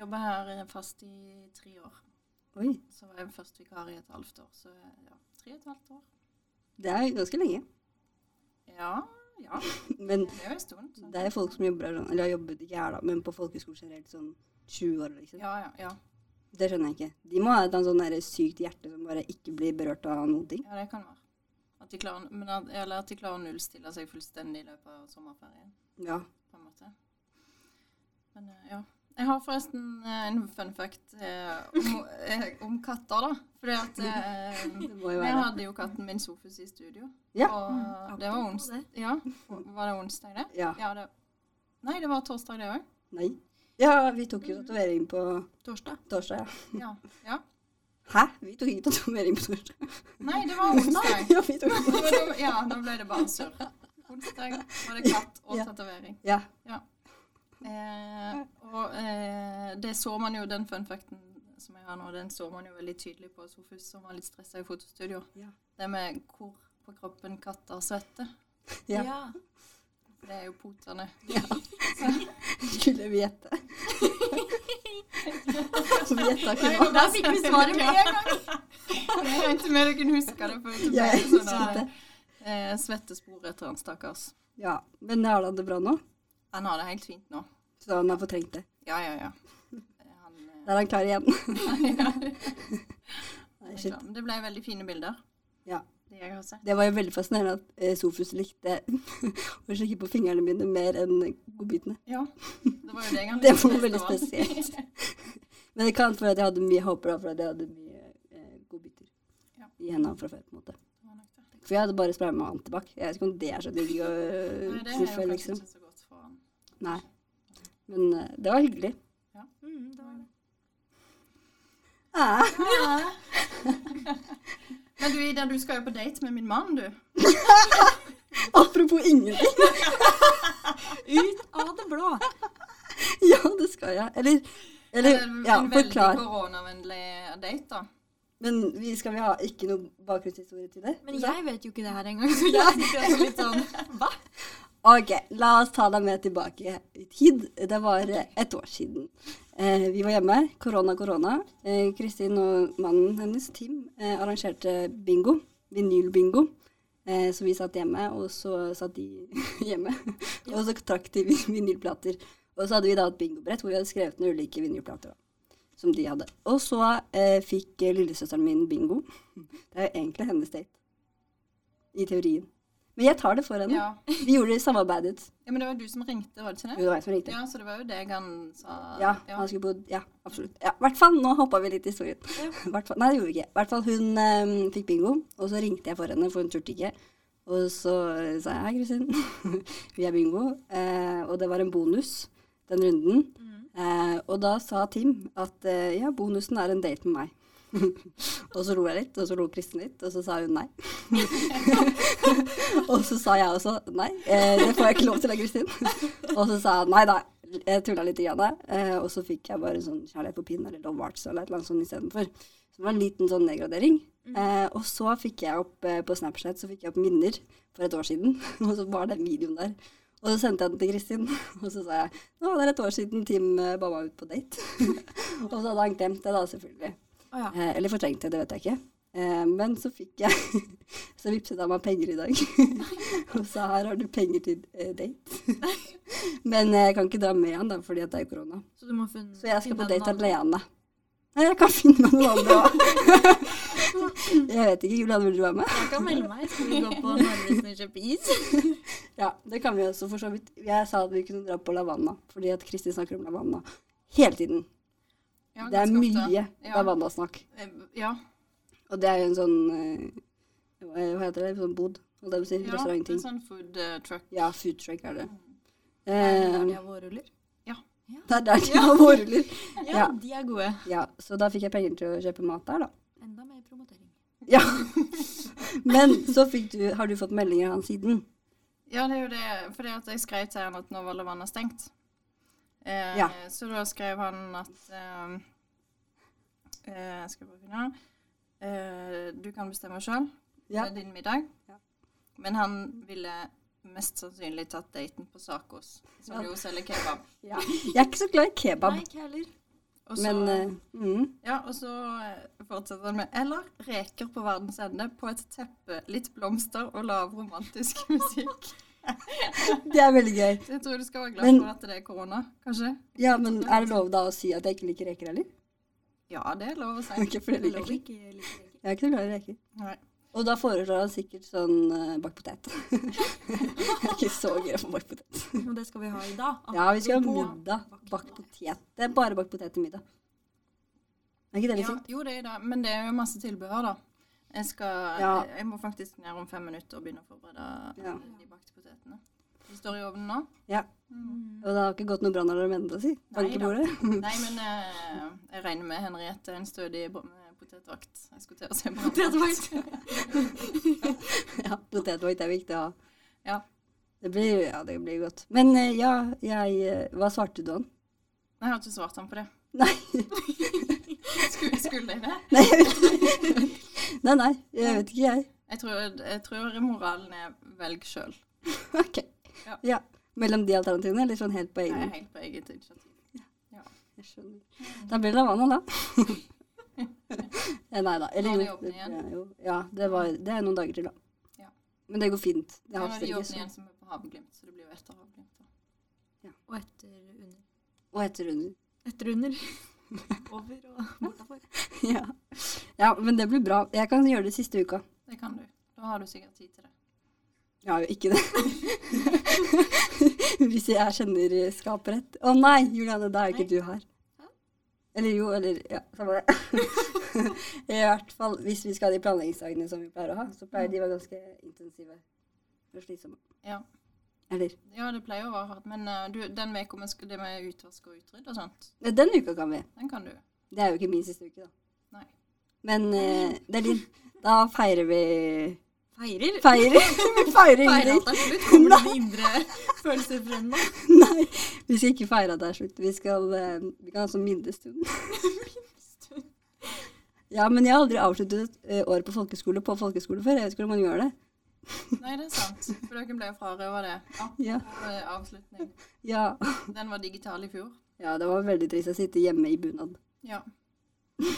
[SPEAKER 4] jobba her eh, fast i tre år.
[SPEAKER 2] Oi,
[SPEAKER 4] Så var jeg først vikar i et halvt år, så eh, ja, tre og et halvt år.
[SPEAKER 2] det er jo ganske lenge.
[SPEAKER 4] Ja, ja.
[SPEAKER 2] Men
[SPEAKER 4] Det er jo en stund. så-
[SPEAKER 2] det er jo folk som jobber her, sånn- eller har jobbet ikke her, da, men på folkehøyskole generelt sånn 20 år, liksom.
[SPEAKER 4] Ja, ja, ja.
[SPEAKER 2] Det skjønner jeg ikke. De må ha et eller annet sånn der sykt hjerte som bare ikke blir berørt av noen ting.
[SPEAKER 4] Ja, det kan være. At de klarer, men at, eller at de klarer å nullstille seg fullstendig i løpet av sommerferien,
[SPEAKER 2] Ja.
[SPEAKER 4] på en måte. Men eh, ja. Jeg har forresten eh, en fun fact eh, om, eh, om katter, da. Fordi at eh,
[SPEAKER 2] Det må jo
[SPEAKER 4] jeg
[SPEAKER 2] være
[SPEAKER 4] hadde jo katten min Sofus i studio.
[SPEAKER 2] Ja. Mm.
[SPEAKER 4] Og det var
[SPEAKER 3] Apropos
[SPEAKER 4] onsdag.
[SPEAKER 3] det.
[SPEAKER 4] Ja, var det onsdag det?
[SPEAKER 2] Ja.
[SPEAKER 4] Ja, det Nei, det var torsdag det òg.
[SPEAKER 2] Nei. Ja, vi tok jo tatovering på
[SPEAKER 3] Torsdag.
[SPEAKER 2] torsdag, ja.
[SPEAKER 4] Ja. ja.
[SPEAKER 2] Hæ? Vi tok ikke tatovering på torsdag.
[SPEAKER 4] Nei, det var onsdag.
[SPEAKER 2] Ja, vi tok
[SPEAKER 4] Det var da- Ja, da ble det bare surr. Onsdag var det katt og
[SPEAKER 2] Ja.
[SPEAKER 4] tatovering.
[SPEAKER 2] Ja.
[SPEAKER 4] Eh, og eh, det så man jo, den funfacten som jeg har nå, den så man jo veldig tydelig på Sofus, som var litt stressa i fotostudio.
[SPEAKER 2] Ja.
[SPEAKER 4] Det med hvor på kroppen katter svetter.
[SPEAKER 2] Ja.
[SPEAKER 4] Det er jo potene.
[SPEAKER 2] Skulle vi gjette? Vi gjetta ikke
[SPEAKER 3] Og der fikk vi svaret med en gang.
[SPEAKER 4] Jeg regnet med dere kunne huske det. For det ble
[SPEAKER 2] Ja, jeg
[SPEAKER 4] sånn
[SPEAKER 2] husker det.
[SPEAKER 4] der, eh, svettespor etter han, stakkars.
[SPEAKER 2] Ja. Men har han det bra nå?
[SPEAKER 4] Han har det helt fint nå.
[SPEAKER 2] Så han har fortrengt det.
[SPEAKER 4] Ja, ja, ja. Eh, Han, eh,
[SPEAKER 2] Da er han klar igjen. Nei, shit.
[SPEAKER 4] ja, men det ble veldig fine bilder.
[SPEAKER 2] Ja.
[SPEAKER 4] Det jeg har sett.
[SPEAKER 2] Det var jo veldig fascinerende at eh, Sofus likte å sjekke på fingrene mine mer enn godbitene.
[SPEAKER 4] Ja, det var jo det jeg
[SPEAKER 2] Det
[SPEAKER 4] likte
[SPEAKER 2] var veldig
[SPEAKER 4] best av alt.
[SPEAKER 2] spesielt. Men det kan for at jeg hadde mye jeg håper da, for at jeg hadde mye eh, godbiter
[SPEAKER 4] Ja.
[SPEAKER 2] i hendene fra før. på en måte.
[SPEAKER 4] Det var nok det.
[SPEAKER 2] For jeg hadde bare spraya med antibac. Jeg vet ikke om det er så digg å
[SPEAKER 4] Nei, det
[SPEAKER 2] eh,
[SPEAKER 4] er jo
[SPEAKER 2] hvorfor,
[SPEAKER 4] kanskje
[SPEAKER 2] liksom.
[SPEAKER 4] ikke så godt for han.
[SPEAKER 2] Nei. Men eh, det var hyggelig.
[SPEAKER 3] Mm, det var det.
[SPEAKER 2] Ah,
[SPEAKER 4] Men du Ida, du skal jo på date med min mann, du.
[SPEAKER 2] apropos ingenting.
[SPEAKER 3] Ut av det blå.
[SPEAKER 2] Ja, det skal jeg. Eller, eller
[SPEAKER 4] en
[SPEAKER 2] ja,
[SPEAKER 4] veldig
[SPEAKER 2] forklar.
[SPEAKER 4] koronavennlig date, da.
[SPEAKER 2] Men vi skal vi ha ikke noe bakgrunnshistorie til det?
[SPEAKER 3] Men jeg vet jo ikke det her engang, så jeg sitter også litt sånn Hva?
[SPEAKER 2] Ok, la oss ta deg med tilbake i tid. Det var eh, et år siden. Eh, vi var hjemme, korona, korona. Eh, Kristin og mannen hennes, Tim, eh, arrangerte bingo. Vinylbingo. Eh, så vi satt hjemme, og så satt de hjemme. og så trakk de vin- vinylplater. Og så hadde vi da et bingobrett hvor vi hadde skrevet ned ulike vinylplater. Da, som de hadde. Og så eh, fikk eh, lillesøsteren min bingo. Det er jo egentlig hennes date. I teorien. Men jeg tar det for henne.
[SPEAKER 4] Ja.
[SPEAKER 2] Vi gjorde det samarbeidet.
[SPEAKER 4] ja, men det var du som ringte, var det ikke
[SPEAKER 2] Jo,
[SPEAKER 4] det?
[SPEAKER 2] Det var jeg som ringte.
[SPEAKER 4] Ja, så det var jo deg han sa
[SPEAKER 2] Ja, han skulle bodd Ja, absolutt. Ja, hvert fall, nå hoppa vi litt i historien. Hvert fall- nei, det gjorde vi ikke. I hvert fall hun eh, fikk bingo, og så ringte jeg for henne, for hun turte ikke. Og så eh, sa jeg hei, Kristin, vi er bingo. Eh, og det var en bonus den runden. Eh, og da sa Tim at eh, ja, bonusen er en date med meg. og så lo jeg litt, og så lo Kristin litt, og så sa hun nei. og så sa jeg også nei, eh, det får jeg ikke lov til av Kristin. og så sa han nei da, jeg tulla litt, grann, eh, og så fikk jeg bare sånn kjærlighet på pinnen eller love arts eller et eller annet sånt istedenfor. Så det var en liten sånn nedgradering. Eh, og så fikk jeg opp eh, på Snapchat så fikk jeg opp minner for et år siden, og så var den videoen der. Og så sendte jeg den til Kristin, og så sa jeg nå det er et år siden Tim eh, ba meg ut på date. og så hadde han glemt det, da, selvfølgelig.
[SPEAKER 3] Å ja.
[SPEAKER 2] Eh, eller fortrengt det, det vet jeg ikke. Eh, men så fikk jeg Så vippset han meg penger i dag. og sa her har du penger til eh, date. men eh, jeg kan ikke dra med han, da, fordi at det er korona.
[SPEAKER 3] Så du må finne
[SPEAKER 2] Så jeg skal på
[SPEAKER 3] finne
[SPEAKER 2] date
[SPEAKER 3] en annen-
[SPEAKER 2] alene. Nei, jeg kan finne meg noen andre òg. jeg vet ikke. Julian, vil du være med?
[SPEAKER 3] Jeg kan melde meg. Skal vi gå på Narvesen og kjøpe is?
[SPEAKER 2] Ja, det kan vi også, for så vidt. Jeg sa at vi kunne dra på Lavanna, fordi at Kristin snakker om Lavanna hele tiden.
[SPEAKER 4] Ja,
[SPEAKER 2] det er
[SPEAKER 4] ganske ofte.
[SPEAKER 2] mye
[SPEAKER 4] Ja.
[SPEAKER 2] Lavanna-snakk.
[SPEAKER 4] Eh, ja.
[SPEAKER 2] Og det er jo en sånn eh, Hva heter det? Sånn bod? Holdt jeg på å si.
[SPEAKER 4] ja det
[SPEAKER 2] Restaurantting.
[SPEAKER 4] er sånn food eh, truck.
[SPEAKER 2] Ja, food truck er det.
[SPEAKER 3] Der
[SPEAKER 2] Eh,
[SPEAKER 3] de har vårruller.
[SPEAKER 2] det er der de har vårruller. Ja.
[SPEAKER 3] Ja, de er gode.
[SPEAKER 2] Ja, så da fikk jeg penger til å kjøpe mat der, da.
[SPEAKER 3] Enda mer promotering.
[SPEAKER 2] Ja. Men så fikk du, har du fått meldinger av han siden.
[SPEAKER 4] Ja, det er jo det. Fordi at jeg skrev til han at nå var Lavanna stengt. Eh,
[SPEAKER 2] Ja.
[SPEAKER 4] Så da skrev han at eh, eh, Skal jeg bare finne eh, Du kan bestemme sjøl.
[SPEAKER 2] Ja.
[SPEAKER 4] Det er din middag.
[SPEAKER 2] Ja.
[SPEAKER 4] Men han ville mest sannsynlig tatt daten på Sakos, som
[SPEAKER 2] Ja.
[SPEAKER 4] jo selger kebab.
[SPEAKER 2] Ja. Jeg er ikke så glad i kebab,
[SPEAKER 3] Nei, ikke heller.
[SPEAKER 4] Og så,
[SPEAKER 2] men eh, mm,
[SPEAKER 4] ja, og så eh, fortsetter han med Eller reker på verdens ende på et teppe, litt blomster og lav romantisk musikk.
[SPEAKER 2] det er veldig gøy.
[SPEAKER 4] Jeg tror du skal være glad
[SPEAKER 2] Men-
[SPEAKER 4] for at det er korona, kanskje.
[SPEAKER 2] Ja, men er det lov da å si at jeg ikke liker reker heller?
[SPEAKER 4] Ja, det er lov å si.
[SPEAKER 2] Ok, for det
[SPEAKER 3] Det
[SPEAKER 2] liker
[SPEAKER 3] lå
[SPEAKER 2] jeg ikke.
[SPEAKER 3] ikke like lenger.
[SPEAKER 2] Jeg er ikke så glad i reker.
[SPEAKER 4] Nei.
[SPEAKER 2] Og da foreslår han sikkert sånn eh, bakt potet. jeg er ikke så gøy på bakt potet.
[SPEAKER 3] Og det skal vi ha i dag.
[SPEAKER 2] Ja, vi skal ha
[SPEAKER 3] Apropos
[SPEAKER 2] middag. Bakt potet. Det er bare bakt potet til middag. Er ikke det litt
[SPEAKER 4] Ja,
[SPEAKER 2] sykt?
[SPEAKER 4] jo, det er det. Men det er jo masse tilbehør, da. Jeg, skal,
[SPEAKER 2] Ja.
[SPEAKER 4] jeg må faktisk ned om fem minutter og begynne å forberede
[SPEAKER 2] Ja.
[SPEAKER 4] de bakte potetene. De står i ovnen nå.
[SPEAKER 2] Ja. Og det har ikke gått noe brannalarm ennå, si. Banker
[SPEAKER 4] Nei da.
[SPEAKER 2] bordet.
[SPEAKER 4] Nei, men eh, jeg regner med Henriette, en stødig bo- eh, potetvakt. Jeg skulle til å si
[SPEAKER 3] Det hadde
[SPEAKER 4] potetvakt.
[SPEAKER 3] vært
[SPEAKER 2] Ja, potetvoit er viktig å ha.
[SPEAKER 4] Ja.
[SPEAKER 2] Det blir, ja, det blir godt. Men eh, ja, jeg eh, Hva svarte du han?
[SPEAKER 4] Nei, jeg har ikke svart ham på det.
[SPEAKER 2] Nei.
[SPEAKER 4] Skulle, skulle jeg det?
[SPEAKER 2] Nei, jeg vet ikke. Nei, nei, jeg vet ikke, jeg.
[SPEAKER 4] Jeg tror, jeg tror moralen er velg sjøl.
[SPEAKER 2] Ok.
[SPEAKER 4] Ja.
[SPEAKER 2] Ja. Mellom de alternativene, eller sånn helt på
[SPEAKER 4] Det
[SPEAKER 2] egen
[SPEAKER 4] er
[SPEAKER 2] hånd?
[SPEAKER 4] helt på eget initiativ.
[SPEAKER 2] Jeg skjønner. Da blir det Lavana, da. Eh, Nei da.
[SPEAKER 4] Nå er
[SPEAKER 2] Eller
[SPEAKER 4] de
[SPEAKER 2] jo,
[SPEAKER 4] åpne
[SPEAKER 2] det,
[SPEAKER 4] igjen.
[SPEAKER 2] jo. Ja, det, var, det er noen dager til, da.
[SPEAKER 4] Ja.
[SPEAKER 2] Men det går fint. Det
[SPEAKER 4] Nå er
[SPEAKER 2] haster
[SPEAKER 4] de
[SPEAKER 2] ikke
[SPEAKER 4] åpne
[SPEAKER 2] så
[SPEAKER 4] igjen som er på Havglimt, så det blir jo etter Havglimt. da.
[SPEAKER 3] Og etter under.
[SPEAKER 2] Og etter runden.
[SPEAKER 3] Etter under. Over og bortafor.
[SPEAKER 2] Ja. ja, men det blir bra. Jeg kan gjøre det siste uka.
[SPEAKER 4] Det kan du. Da har du sikkert tid til det.
[SPEAKER 2] Jeg har jo ikke det. Hvis jeg kjenner skaprett. Å nei, Juliane, da er jo ikke du her. Eller jo, eller ja, samme det. I hvert fall hvis vi skal ha de planleggingsdagene som vi pleier å ha, så pleier de å være ganske intensive og slitsomme.
[SPEAKER 4] Ja.
[SPEAKER 2] Eller
[SPEAKER 4] Ja, det pleier å være hardt, men eh, du, den uka vi skal det med utvask og utrydd og sånt,
[SPEAKER 2] Nei, Den uka kan vi.
[SPEAKER 4] den kan du.
[SPEAKER 2] Det er jo ikke min siste uke, da.
[SPEAKER 4] Nei.
[SPEAKER 2] Men eh, det er din. Da feirer vi
[SPEAKER 3] Feirer.
[SPEAKER 2] Feirer! vi feirer
[SPEAKER 3] Feirer
[SPEAKER 2] ingenting.
[SPEAKER 3] at det er slutt. Kommer det indre følelser frem nå?
[SPEAKER 2] Nei, vi skal ikke feire at det er slutt. Vi, skal, eh, vi kan ha sånn minnestund. ja, men jeg har aldri avsluttet et år på folkeskole på folkeskole før. Jeg vet ikke hvordan man gjør det.
[SPEAKER 4] Nei, det er sant, for dere ble frarøvet det.
[SPEAKER 2] Ja.
[SPEAKER 4] Apropos, eh, avslutning.
[SPEAKER 2] Ja.
[SPEAKER 4] Den var digital i fjor.
[SPEAKER 2] ja, det var veldig trist å sitte hjemme i bunad.
[SPEAKER 4] Ja.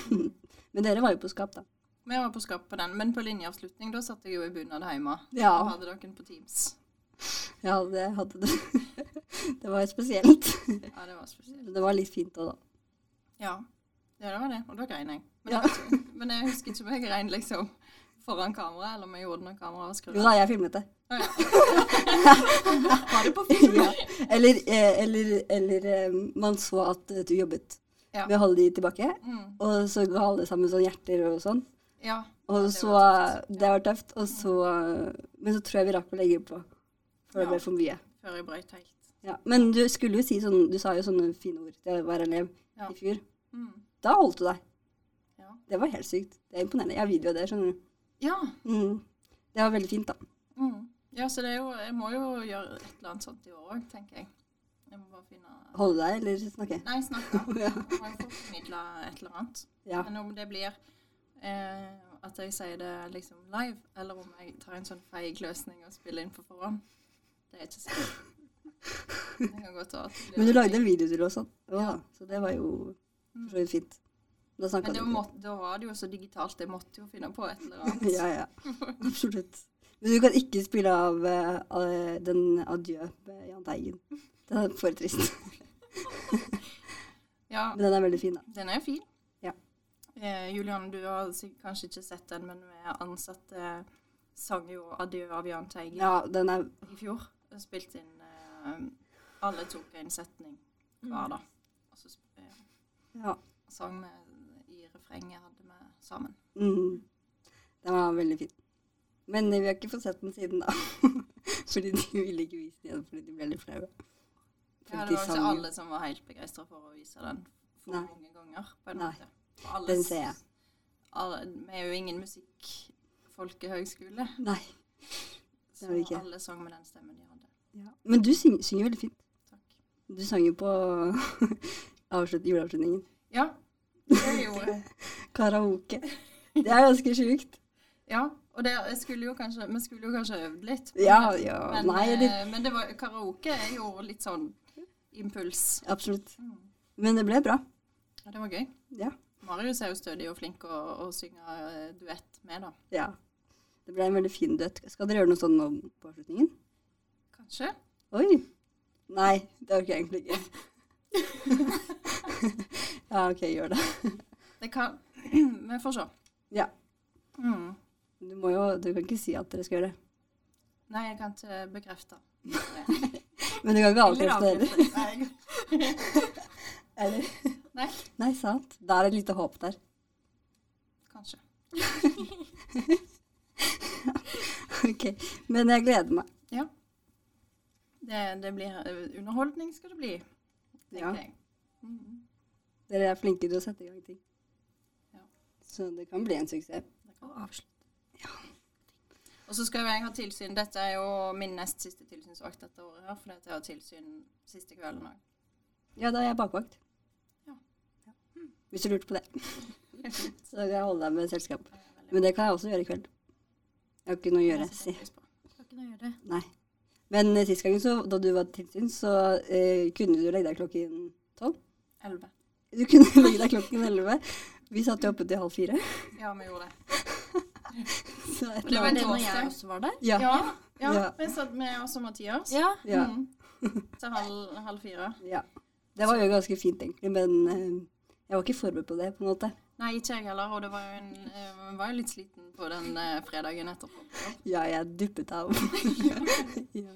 [SPEAKER 2] Men dere var jo på skap, da.
[SPEAKER 4] Vi var på skap på den, men på linjeavslutning, da satt jeg jo i bunad hjemme.
[SPEAKER 2] Ja.
[SPEAKER 4] Da hadde dere den på Teams.
[SPEAKER 2] Ja, det hadde det. det var spesielt.
[SPEAKER 4] Ja, det var spesielt.
[SPEAKER 2] Men det var litt fint òg, da.
[SPEAKER 4] Ja. ja, det var det, og da grein jeg. Men,
[SPEAKER 2] Ja.
[SPEAKER 4] men jeg husker ikke om jeg grein, liksom. foran kamera, eller om jeg gjorde det når kameraet var skrudd
[SPEAKER 2] Jo da, jeg filmet det.
[SPEAKER 4] av. Var det på film?
[SPEAKER 2] Ja. Eller, eh, eller, eller eh, man så at eh, du jobbet
[SPEAKER 4] Ja.
[SPEAKER 2] med å holde de tilbake.
[SPEAKER 4] Mm.
[SPEAKER 2] Og så ga alle sammen sånn hjerter og sånn.
[SPEAKER 4] Ja.
[SPEAKER 2] Og
[SPEAKER 4] det
[SPEAKER 2] så
[SPEAKER 4] var
[SPEAKER 2] Det var tøft. Og så Men så tror jeg vi rakk å legge på. For det
[SPEAKER 4] Ja.
[SPEAKER 2] ble for mye.
[SPEAKER 4] Før jeg brøt helt.
[SPEAKER 2] Ja. Men du skulle jo si sånn Du sa jo sånne fine ord til hver elev
[SPEAKER 4] Ja.
[SPEAKER 2] i fjor.
[SPEAKER 4] Mm.
[SPEAKER 2] Da holdt du deg.
[SPEAKER 4] Ja.
[SPEAKER 2] Det var helt sykt. Det er imponerende. Jeg har video av det, skjønner du.
[SPEAKER 4] Ja.
[SPEAKER 2] Mm. Det var veldig fint, da.
[SPEAKER 4] Mm. ja, så det er jo Jeg må jo gjøre et eller annet sånt i år òg, tenker jeg. Jeg må bare finne
[SPEAKER 2] Holde deg, eller snakke?
[SPEAKER 4] Nei, snakk da.
[SPEAKER 2] Ja.
[SPEAKER 4] Jeg må få formidla et eller annet.
[SPEAKER 2] ja.
[SPEAKER 4] Men om det blir eh, at jeg sier det liksom live, eller om jeg tar en sånn feig løsning og spiller inn på forhånd, det er ikke sikkert. Det kan godt være at det blir
[SPEAKER 2] Men du
[SPEAKER 4] litt
[SPEAKER 2] lagde en
[SPEAKER 4] feig.
[SPEAKER 2] video til oss, sånn.
[SPEAKER 4] Ja. Mm.
[SPEAKER 2] så det var jo for så vidt fint. Da snakka du.
[SPEAKER 4] Men det
[SPEAKER 2] ikke.
[SPEAKER 4] må, da var det jo så digitalt. Jeg måtte jo finne på et eller annet.
[SPEAKER 2] Ja, ja. Absolutt. Men du kan ikke spille av eh, av den Adjø med Jahn Teigen. Den er for trist.
[SPEAKER 4] Ja,
[SPEAKER 2] Men den er veldig fin, da.
[SPEAKER 4] den er fin.
[SPEAKER 2] Ja.
[SPEAKER 4] Eh, Julianne, du har sikk- kanskje ikke sett den, men vi ansatte sang jo 'Adjø' av Jahn Teigen
[SPEAKER 2] Ja, den er
[SPEAKER 4] i fjor. Og Spilt inn eh, Alle tok en setning
[SPEAKER 2] Mm.
[SPEAKER 4] hver, da. Og så sp- eh,
[SPEAKER 2] Ja.
[SPEAKER 4] sang vi i refrenget hadde vi sammen.
[SPEAKER 2] Mm. Den var veldig fin. Men eh, vi har ikke fått sett den siden, da. fordi de ville ikke vise den igjen fordi de ble litt flaue.
[SPEAKER 4] Ja,
[SPEAKER 2] Fordi
[SPEAKER 4] det var
[SPEAKER 2] de
[SPEAKER 4] ikke
[SPEAKER 2] sang-
[SPEAKER 4] alle som var helt begeistra for å vise den for
[SPEAKER 2] Nei.
[SPEAKER 4] mange ganger. på en
[SPEAKER 2] Nei.
[SPEAKER 4] måte. Og alle
[SPEAKER 2] Den
[SPEAKER 4] s-
[SPEAKER 2] ser jeg.
[SPEAKER 4] Alle, vi er jo ingen musikkfolkehøgskole,
[SPEAKER 2] Nei. er
[SPEAKER 4] så
[SPEAKER 2] vi ikke.
[SPEAKER 4] alle sang med den stemmen de hadde.
[SPEAKER 2] Ja. Men du syng, synger veldig fint.
[SPEAKER 4] Takk.
[SPEAKER 2] Du sang jo på avslut, juleavslutningen.
[SPEAKER 4] Ja, det eh, gjorde jeg.
[SPEAKER 2] Karaoke. Det er ganske sjukt.
[SPEAKER 4] Ja, og det, jeg skulle jo kanskje, vi skulle jo kanskje øvd litt.
[SPEAKER 2] Ja, ja,
[SPEAKER 4] men,
[SPEAKER 2] nei,
[SPEAKER 4] eh,
[SPEAKER 2] eller-
[SPEAKER 4] men det var, karaoke er jo litt sånn impuls.
[SPEAKER 2] Absolutt.
[SPEAKER 4] Mm.
[SPEAKER 2] Men det ble bra.
[SPEAKER 4] Ja, det var gøy.
[SPEAKER 2] Ja.
[SPEAKER 4] Marius er jo stødig og flink å, å synge eh, duett med, da.
[SPEAKER 2] ja. Det ble en veldig fin duett. Skal dere gjøre noe sånn nå på avslutningen?
[SPEAKER 4] Kanskje?
[SPEAKER 2] Oi. Nei, det orker jeg egentlig ikke. ja, OK, gjør det.
[SPEAKER 4] Det kan Vi får se.
[SPEAKER 2] Ja.
[SPEAKER 4] Mm.
[SPEAKER 2] Du, må jo, du kan ikke si at dere skal gjøre det.
[SPEAKER 4] Nei, jeg kan ikke bekrefte.
[SPEAKER 2] Men du kan ikke
[SPEAKER 4] Eller
[SPEAKER 2] avkrefte det heller.
[SPEAKER 4] avkrefte. Nei, jeg-
[SPEAKER 2] Eller?
[SPEAKER 4] Nei.
[SPEAKER 2] Nei, sant. Da er det et lite håp der.
[SPEAKER 4] Kanskje.
[SPEAKER 2] OK. Men jeg gleder meg.
[SPEAKER 4] Det, det blir eh, Underholdning skal det bli,
[SPEAKER 2] Ja.
[SPEAKER 4] tenker jeg. Mm.
[SPEAKER 2] Dere er flinke til å sette i gang ting.
[SPEAKER 4] Ja.
[SPEAKER 2] Så det kan bli en suksess.
[SPEAKER 4] Og så skal jo jeg ha tilsyn. Dette er jo min nest siste tilsynsvakt dette året her, fordi at jeg har tilsyn siste kvelden òg.
[SPEAKER 2] Ja, da er jeg bakvakt.
[SPEAKER 4] Ja.
[SPEAKER 2] Ja. Hvis du lurte på det.
[SPEAKER 4] Det er fint.
[SPEAKER 2] Så kan jeg holde deg med selskap.
[SPEAKER 4] Det er veldig
[SPEAKER 2] Men det kan jeg også gjøre i kveld. Jeg har ikke noe å
[SPEAKER 4] bra.
[SPEAKER 2] gjøre.
[SPEAKER 4] Det
[SPEAKER 2] Si.
[SPEAKER 4] setter jeg pris på.
[SPEAKER 3] Skal ikke noe å gjøre.
[SPEAKER 2] Nei. Men eh, sist gang så, da du var tilsyn, så eh, kunne du legge deg klokken tolv.
[SPEAKER 4] Elleve.
[SPEAKER 2] Du kunne legge deg klokken elleve. Vi satt jo oppe til halv fire.
[SPEAKER 4] Ja, vi gjorde det.
[SPEAKER 2] Så et
[SPEAKER 4] Og det
[SPEAKER 2] eller
[SPEAKER 4] var
[SPEAKER 3] Var
[SPEAKER 2] annet.
[SPEAKER 3] det når jeg
[SPEAKER 4] torsdag.
[SPEAKER 3] også var der?
[SPEAKER 2] Ja.
[SPEAKER 4] Ja. ja.
[SPEAKER 2] Ja.
[SPEAKER 4] Vi satt med oss og Mathias.
[SPEAKER 3] Ja.
[SPEAKER 2] ja,
[SPEAKER 4] Mm. Til halv, halv fire.
[SPEAKER 2] ja. Det var jo ganske fint, egentlig, men eh, jeg var ikke forberedt på det, på en måte.
[SPEAKER 4] Nei, ikke jeg heller. Og det var jo en, eh, var jo litt sliten på den eh, fredagen etterpå.
[SPEAKER 2] Ja, jeg duppet av. ja.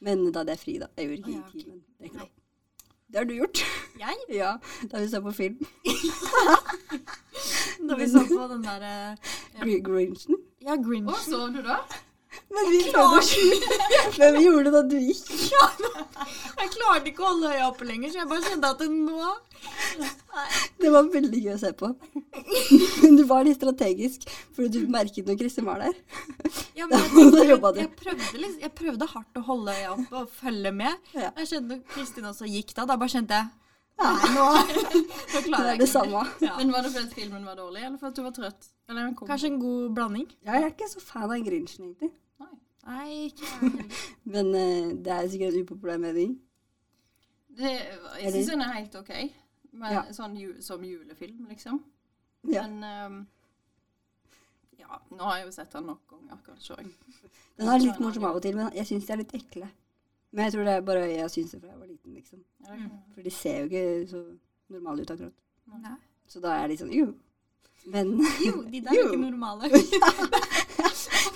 [SPEAKER 2] Men da hadde jeg fri, da. Jeg gjorde ikke
[SPEAKER 3] Å, ja, ok.
[SPEAKER 2] i timen. Det, er ikke lov. det har du gjort.
[SPEAKER 3] Jeg?
[SPEAKER 2] ja, da vi så på film.
[SPEAKER 3] Da vi så på den eh, derre
[SPEAKER 2] Gr Grinchen.
[SPEAKER 3] Ja,
[SPEAKER 4] Å,
[SPEAKER 3] Grinch.
[SPEAKER 4] sov du da?
[SPEAKER 2] Men vi klarte å skjule Men vi gjorde det da du gikk.
[SPEAKER 3] Jeg klarte ikke å holde øya oppe lenger, så jeg bare kjente at det nå
[SPEAKER 2] Det var veldig gøy å se på. Men du var litt strategisk, fordi du merket når Kristin var der.
[SPEAKER 3] ja, men jeg,
[SPEAKER 2] Da
[SPEAKER 3] tenkte,
[SPEAKER 2] jobba du.
[SPEAKER 3] at jeg, prøvde liksom, jeg prøvde hardt å holde øya oppe og følge med.
[SPEAKER 2] Ja.
[SPEAKER 3] Jeg kjente når Kristin også gikk da, da bare kjente jeg
[SPEAKER 2] Ja.
[SPEAKER 3] Nei, nå, nå
[SPEAKER 2] Det er
[SPEAKER 3] klarer jeg
[SPEAKER 2] det
[SPEAKER 3] ikke
[SPEAKER 2] samme.
[SPEAKER 3] Ja.
[SPEAKER 4] Men var det fordi at filmen var dårlig, eller fordi at du var trøtt? Eller en
[SPEAKER 3] Kanskje en god blanding?
[SPEAKER 2] Ja, jeg er ikke så fan av Grinchen, egentlig.
[SPEAKER 4] Nei.
[SPEAKER 3] Nei, ikke jeg heller.
[SPEAKER 2] Men eh, det er sikkert en upopulær mening.
[SPEAKER 4] Det, eh, jeg syns den er helt OK. Men,
[SPEAKER 2] Ja.
[SPEAKER 4] sånn ju, som julefilm, liksom.
[SPEAKER 2] Ja.
[SPEAKER 4] Men ehm, ja, nå har jeg jo sett den nok ganger, kanskje òg.
[SPEAKER 2] Den er litt morsom av og til, men jeg syns de er litt ekle. Men jeg tror det er bare jeg syns det fra jeg var liten, liksom.
[SPEAKER 3] Mm.
[SPEAKER 2] For de ser jo ikke så normale ut akkurat.
[SPEAKER 3] Nei.
[SPEAKER 2] Så da er jeg litt sånn jo. Men
[SPEAKER 3] Jo, de der er ikke normale.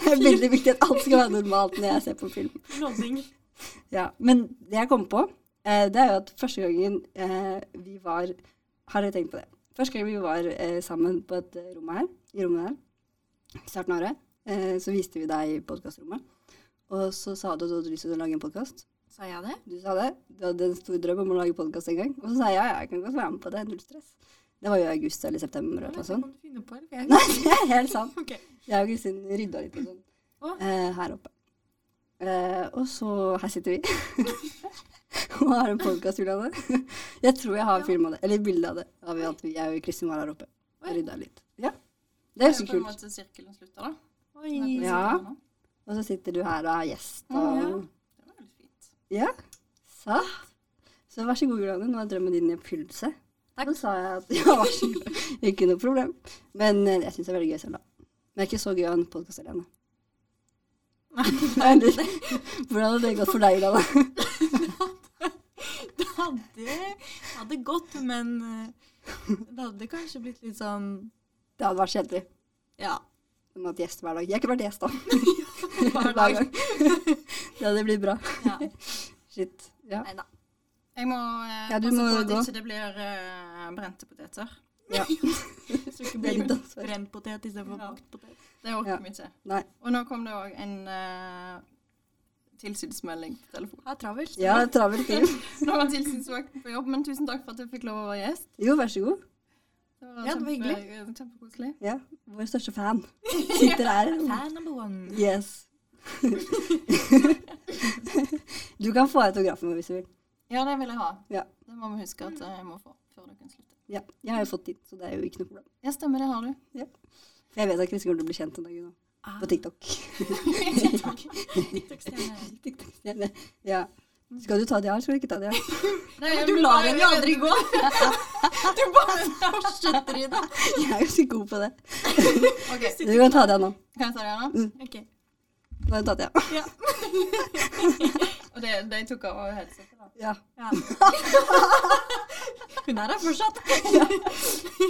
[SPEAKER 2] det er veldig viktig at alt skal være normalt når jeg ser på film.
[SPEAKER 3] Lodding.
[SPEAKER 2] Ja, Men det jeg kom på, eh, det er jo at første gangen eh, vi var Har dere tenkt på det? Første gangen vi var eh, sammen på et eh, rom her, i rommet her, i starten av året, eh, så viste vi deg podkastrommet. Og så sa du at du hadde lyst til å lage en podkast.
[SPEAKER 3] Sa jeg det?
[SPEAKER 2] Du sa det. Du hadde en stor drøm om å lage podkast en gang. Og så sa jeg ja, ja, jeg kan godt være med på det. Null stress. Det var jo i august eller september. eller noe
[SPEAKER 3] Jeg vet ikke
[SPEAKER 2] sånt.
[SPEAKER 3] om du finner på det. Jeg-
[SPEAKER 2] Nei, det er helt sant.
[SPEAKER 3] Ok.
[SPEAKER 2] Jeg og Kristin rydda litt og sånn
[SPEAKER 3] Å.
[SPEAKER 2] eh, her oppe. Eh, og så her sitter vi og har en podkast, Juliane. Jeg tror jeg har filma det, eller bilde av det, av at vi- jeg og Kristin var her oppe og
[SPEAKER 3] Oi.
[SPEAKER 2] rydda litt. Ja, Det er jo så
[SPEAKER 4] Det er på en
[SPEAKER 2] kult.
[SPEAKER 4] måte sirkelen slutter, da.
[SPEAKER 3] Oi.
[SPEAKER 2] Ja. Og så sitter du her og er gjest. Og,
[SPEAKER 3] Å,
[SPEAKER 4] Det var veldig fint.
[SPEAKER 2] ja. Så. så vær så god, Juliane. Nå er drømmen din i oppfyllelse.
[SPEAKER 3] Takk.
[SPEAKER 2] Så sa jeg at ja, vær så god. Ikke noe problem. Men eh, jeg syns det er veldig gøy selv, da. Men det er ikke så gøy å ha en podkast alene. Eller, hvordan hadde det gått for deg, Lana?
[SPEAKER 3] Det hadde, hadde gått, men eh, det hadde kanskje blitt litt sånn
[SPEAKER 2] Det hadde vært kjedelig.
[SPEAKER 3] Ja.
[SPEAKER 2] Du måtte gjest hver dag. Jeg har ikke vært gjest, da.
[SPEAKER 3] Hver
[SPEAKER 2] Hver gang. Det hadde blitt bra.
[SPEAKER 3] ja.
[SPEAKER 2] Shit. Ja.
[SPEAKER 3] Nei da.
[SPEAKER 4] Jeg må eh,
[SPEAKER 2] Ja, du
[SPEAKER 4] passe
[SPEAKER 2] må
[SPEAKER 4] på at
[SPEAKER 2] gå.
[SPEAKER 4] ikke det blir eh, brente poteter.
[SPEAKER 2] ja.
[SPEAKER 3] Så ikke
[SPEAKER 2] Det er
[SPEAKER 3] blir
[SPEAKER 2] litt ansvar.
[SPEAKER 3] brent potet istedenfor
[SPEAKER 4] Ja.
[SPEAKER 3] bakt potet.
[SPEAKER 4] Det
[SPEAKER 2] Ja.
[SPEAKER 4] orker vi ikke.
[SPEAKER 2] Nei.
[SPEAKER 4] Og nå kom det òg en eh, tilsynsmelding på telefonen.
[SPEAKER 3] Ha travelt.
[SPEAKER 2] Ja, travelt liv.
[SPEAKER 4] Nå var tilsynsvakt på jobb, men tusen takk for at jeg fikk lov å være gjest.
[SPEAKER 2] Jo, vær så god.
[SPEAKER 4] var
[SPEAKER 3] Ja, det var
[SPEAKER 4] hyggelig. Kjempekoselig.
[SPEAKER 2] Ja. Vår største fan sitter her.
[SPEAKER 3] Fan number one.
[SPEAKER 2] Yes. Du kan få autografen vår hvis du vil.
[SPEAKER 4] Ja, det vil jeg ha.
[SPEAKER 2] Ja.
[SPEAKER 4] Det må vi huske at eh, jeg må få før dere slutter.
[SPEAKER 2] Ja. Jeg har jo fått din, så det er jo ikke noe problem.
[SPEAKER 4] Ja, stemmer, det har du.
[SPEAKER 2] For jeg vet at Kristin kommer til å bli kjent en dag nå.
[SPEAKER 3] Ah,
[SPEAKER 2] På TikTok.
[SPEAKER 3] TikTok-stjerne.
[SPEAKER 2] TikTok-stjerne. Ja. Skal du ta de her, skal du ikke ta de her?
[SPEAKER 4] Nei,
[SPEAKER 3] Du
[SPEAKER 4] jeg-
[SPEAKER 3] lar henne jo
[SPEAKER 4] jeg-
[SPEAKER 3] aldri gå. Du bare fortsetter i det.
[SPEAKER 2] Jeg er jo så god på det.
[SPEAKER 4] Ok,
[SPEAKER 2] Du kan ta de her nå.
[SPEAKER 4] Kan jeg ta det her nå?
[SPEAKER 3] Ok.
[SPEAKER 2] Nå har jeg tatt de her.
[SPEAKER 4] Og det, de tok av headsetet, da.
[SPEAKER 2] Ja.
[SPEAKER 3] Ja. Hun er her fortsatt.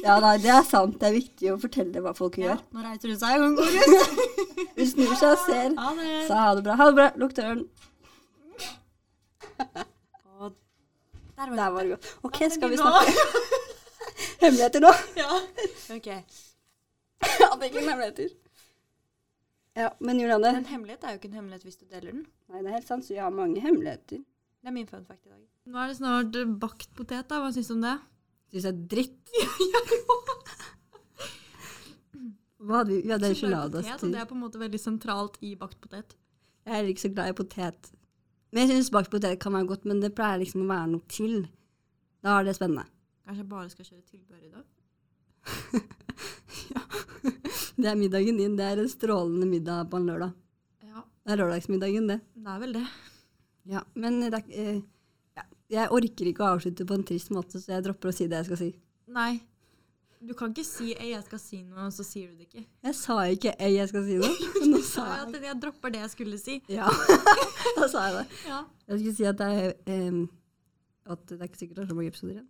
[SPEAKER 2] Ja, nei, det er sant. Det er viktig å fortelle hva folk
[SPEAKER 3] Ja.
[SPEAKER 2] gjør.
[SPEAKER 3] Nå reiser hun seg. Hun går ut.
[SPEAKER 2] Hun snur seg og ser.
[SPEAKER 3] Ha det.
[SPEAKER 2] Sa ha det bra. Ha det bra. Lukk døren.
[SPEAKER 3] Og der
[SPEAKER 2] Der var det godt. OK, skal vi
[SPEAKER 3] Nå-
[SPEAKER 2] snakke hemmeligheter nå?
[SPEAKER 3] Ja. Ok.
[SPEAKER 2] Hadde ikke hemmeligheter. Ja, men Julianne
[SPEAKER 5] En hemmelighet er jo ikke en hemmelighet hvis du deler den.
[SPEAKER 2] Nei, det er helt sant, så jeg har mange hemmeligheter.
[SPEAKER 5] Det er min fun fact i dag.
[SPEAKER 3] Nå er det snart eh, bakt potet, da. Hva syns du om det?
[SPEAKER 2] Syns jeg er dritt. Hva hadde vi? Vi hadde
[SPEAKER 3] Potet,
[SPEAKER 2] geladas
[SPEAKER 3] og
[SPEAKER 2] til.
[SPEAKER 3] Det er på en måte veldig sentralt i bakt potet.
[SPEAKER 2] Jeg er heller ikke så glad i potet. Men jeg syns bakt potet kan være godt, men det pleier liksom å være noe til. Da er det spennende.
[SPEAKER 3] Kanskje jeg bare skal kjøre tilbehør i dag?
[SPEAKER 2] Det er middagen din. Det er en strålende middag på en lørdag.
[SPEAKER 3] Ja,
[SPEAKER 2] Det er lørdagsmiddagen, det.
[SPEAKER 3] det er vel det.
[SPEAKER 2] Ja, men det er, ikke- eh, ja, jeg orker ikke å avslutte på en trist måte, så jeg dropper å si det jeg skal si.
[SPEAKER 3] Nei. Du kan ikke si «Ei, 'jeg skal si noe', og så sier du det ikke.
[SPEAKER 2] Jeg sa ikke ei, jeg skal si noe. men Nå
[SPEAKER 3] Så
[SPEAKER 2] sa jeg
[SPEAKER 3] at jeg dropper det jeg skulle si.
[SPEAKER 2] Ja, da sa jeg det.
[SPEAKER 3] Ja.
[SPEAKER 2] Jeg skulle si at det er, em, at det er ikke sikkert det er så mange episoder igjen.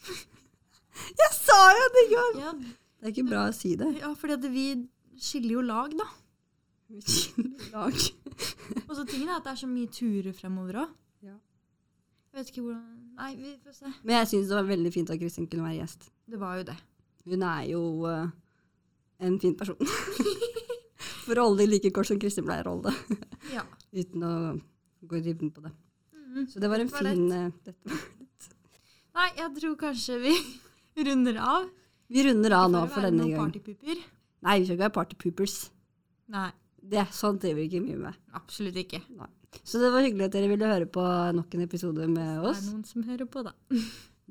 [SPEAKER 2] Jeg sa jo det, Jon!
[SPEAKER 3] Ja,
[SPEAKER 2] Det er ikke bra å si det.
[SPEAKER 3] ja fordi at vi skiller jo lag, da.
[SPEAKER 2] Vi skiller lag.
[SPEAKER 3] Og så tingen er at det er så mye turer fremover òg.
[SPEAKER 2] Ja.
[SPEAKER 3] Jeg vet ikke hvordan Nei, vi får se.
[SPEAKER 2] Men jeg syns det var veldig fint at Kristin kunne være gjest.
[SPEAKER 3] Det var jo det.
[SPEAKER 2] Hun er jo eh, en fin person. For å holde det like kort som Kristin pleier å holde det.
[SPEAKER 3] Ja.
[SPEAKER 2] uten å gå i dybden på det.
[SPEAKER 3] Mhm.
[SPEAKER 2] Så det var en
[SPEAKER 3] Det var
[SPEAKER 2] fin eh, dette.
[SPEAKER 3] Nei, jeg tror kanskje vi runder av.
[SPEAKER 2] Vi runder av nå
[SPEAKER 3] Det får
[SPEAKER 2] for
[SPEAKER 3] være
[SPEAKER 2] denne
[SPEAKER 3] noen
[SPEAKER 2] gang.
[SPEAKER 3] Partypupper.
[SPEAKER 2] Nei, vi skal ikke være partypoopers.
[SPEAKER 3] Nei,
[SPEAKER 2] Det, sånt driver vi ikke mye med.
[SPEAKER 3] absolutt ikke.
[SPEAKER 2] Så det var hyggelig at dere ville høre på nok en episode med
[SPEAKER 3] Det
[SPEAKER 2] oss.
[SPEAKER 3] er noen som hører på, da.
[SPEAKER 2] Det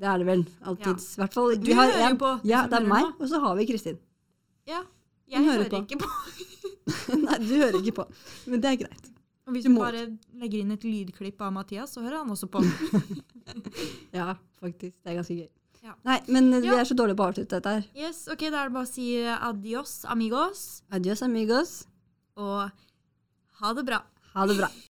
[SPEAKER 2] er det vel. Alltids. I hvert fall.
[SPEAKER 3] Du
[SPEAKER 2] vi har
[SPEAKER 3] hører
[SPEAKER 2] en-
[SPEAKER 3] jo på, du
[SPEAKER 2] Ja,
[SPEAKER 3] som
[SPEAKER 2] det er
[SPEAKER 3] hører
[SPEAKER 2] meg,
[SPEAKER 3] på.
[SPEAKER 2] og så har vi Kristin.
[SPEAKER 3] Ja. Jeg
[SPEAKER 2] Hun hører
[SPEAKER 3] hører,
[SPEAKER 2] på.
[SPEAKER 3] ikke på.
[SPEAKER 2] Nei, du hører ikke på. Men det er greit.
[SPEAKER 3] Og hvis
[SPEAKER 2] Du
[SPEAKER 3] du
[SPEAKER 2] må-
[SPEAKER 3] bare legger inn et lydklipp av Mathias, så hører han også på.
[SPEAKER 2] Ja, faktisk. Det er ganske gøy.
[SPEAKER 3] Ja.
[SPEAKER 2] Nei, men eh, vi
[SPEAKER 3] Ja.
[SPEAKER 2] er så dårlige på å avslutte dette her.
[SPEAKER 3] Yes, ok, Da er det bare å si adios, amigos,
[SPEAKER 2] Adios amigos.
[SPEAKER 3] og ha det bra.
[SPEAKER 2] Ha det bra.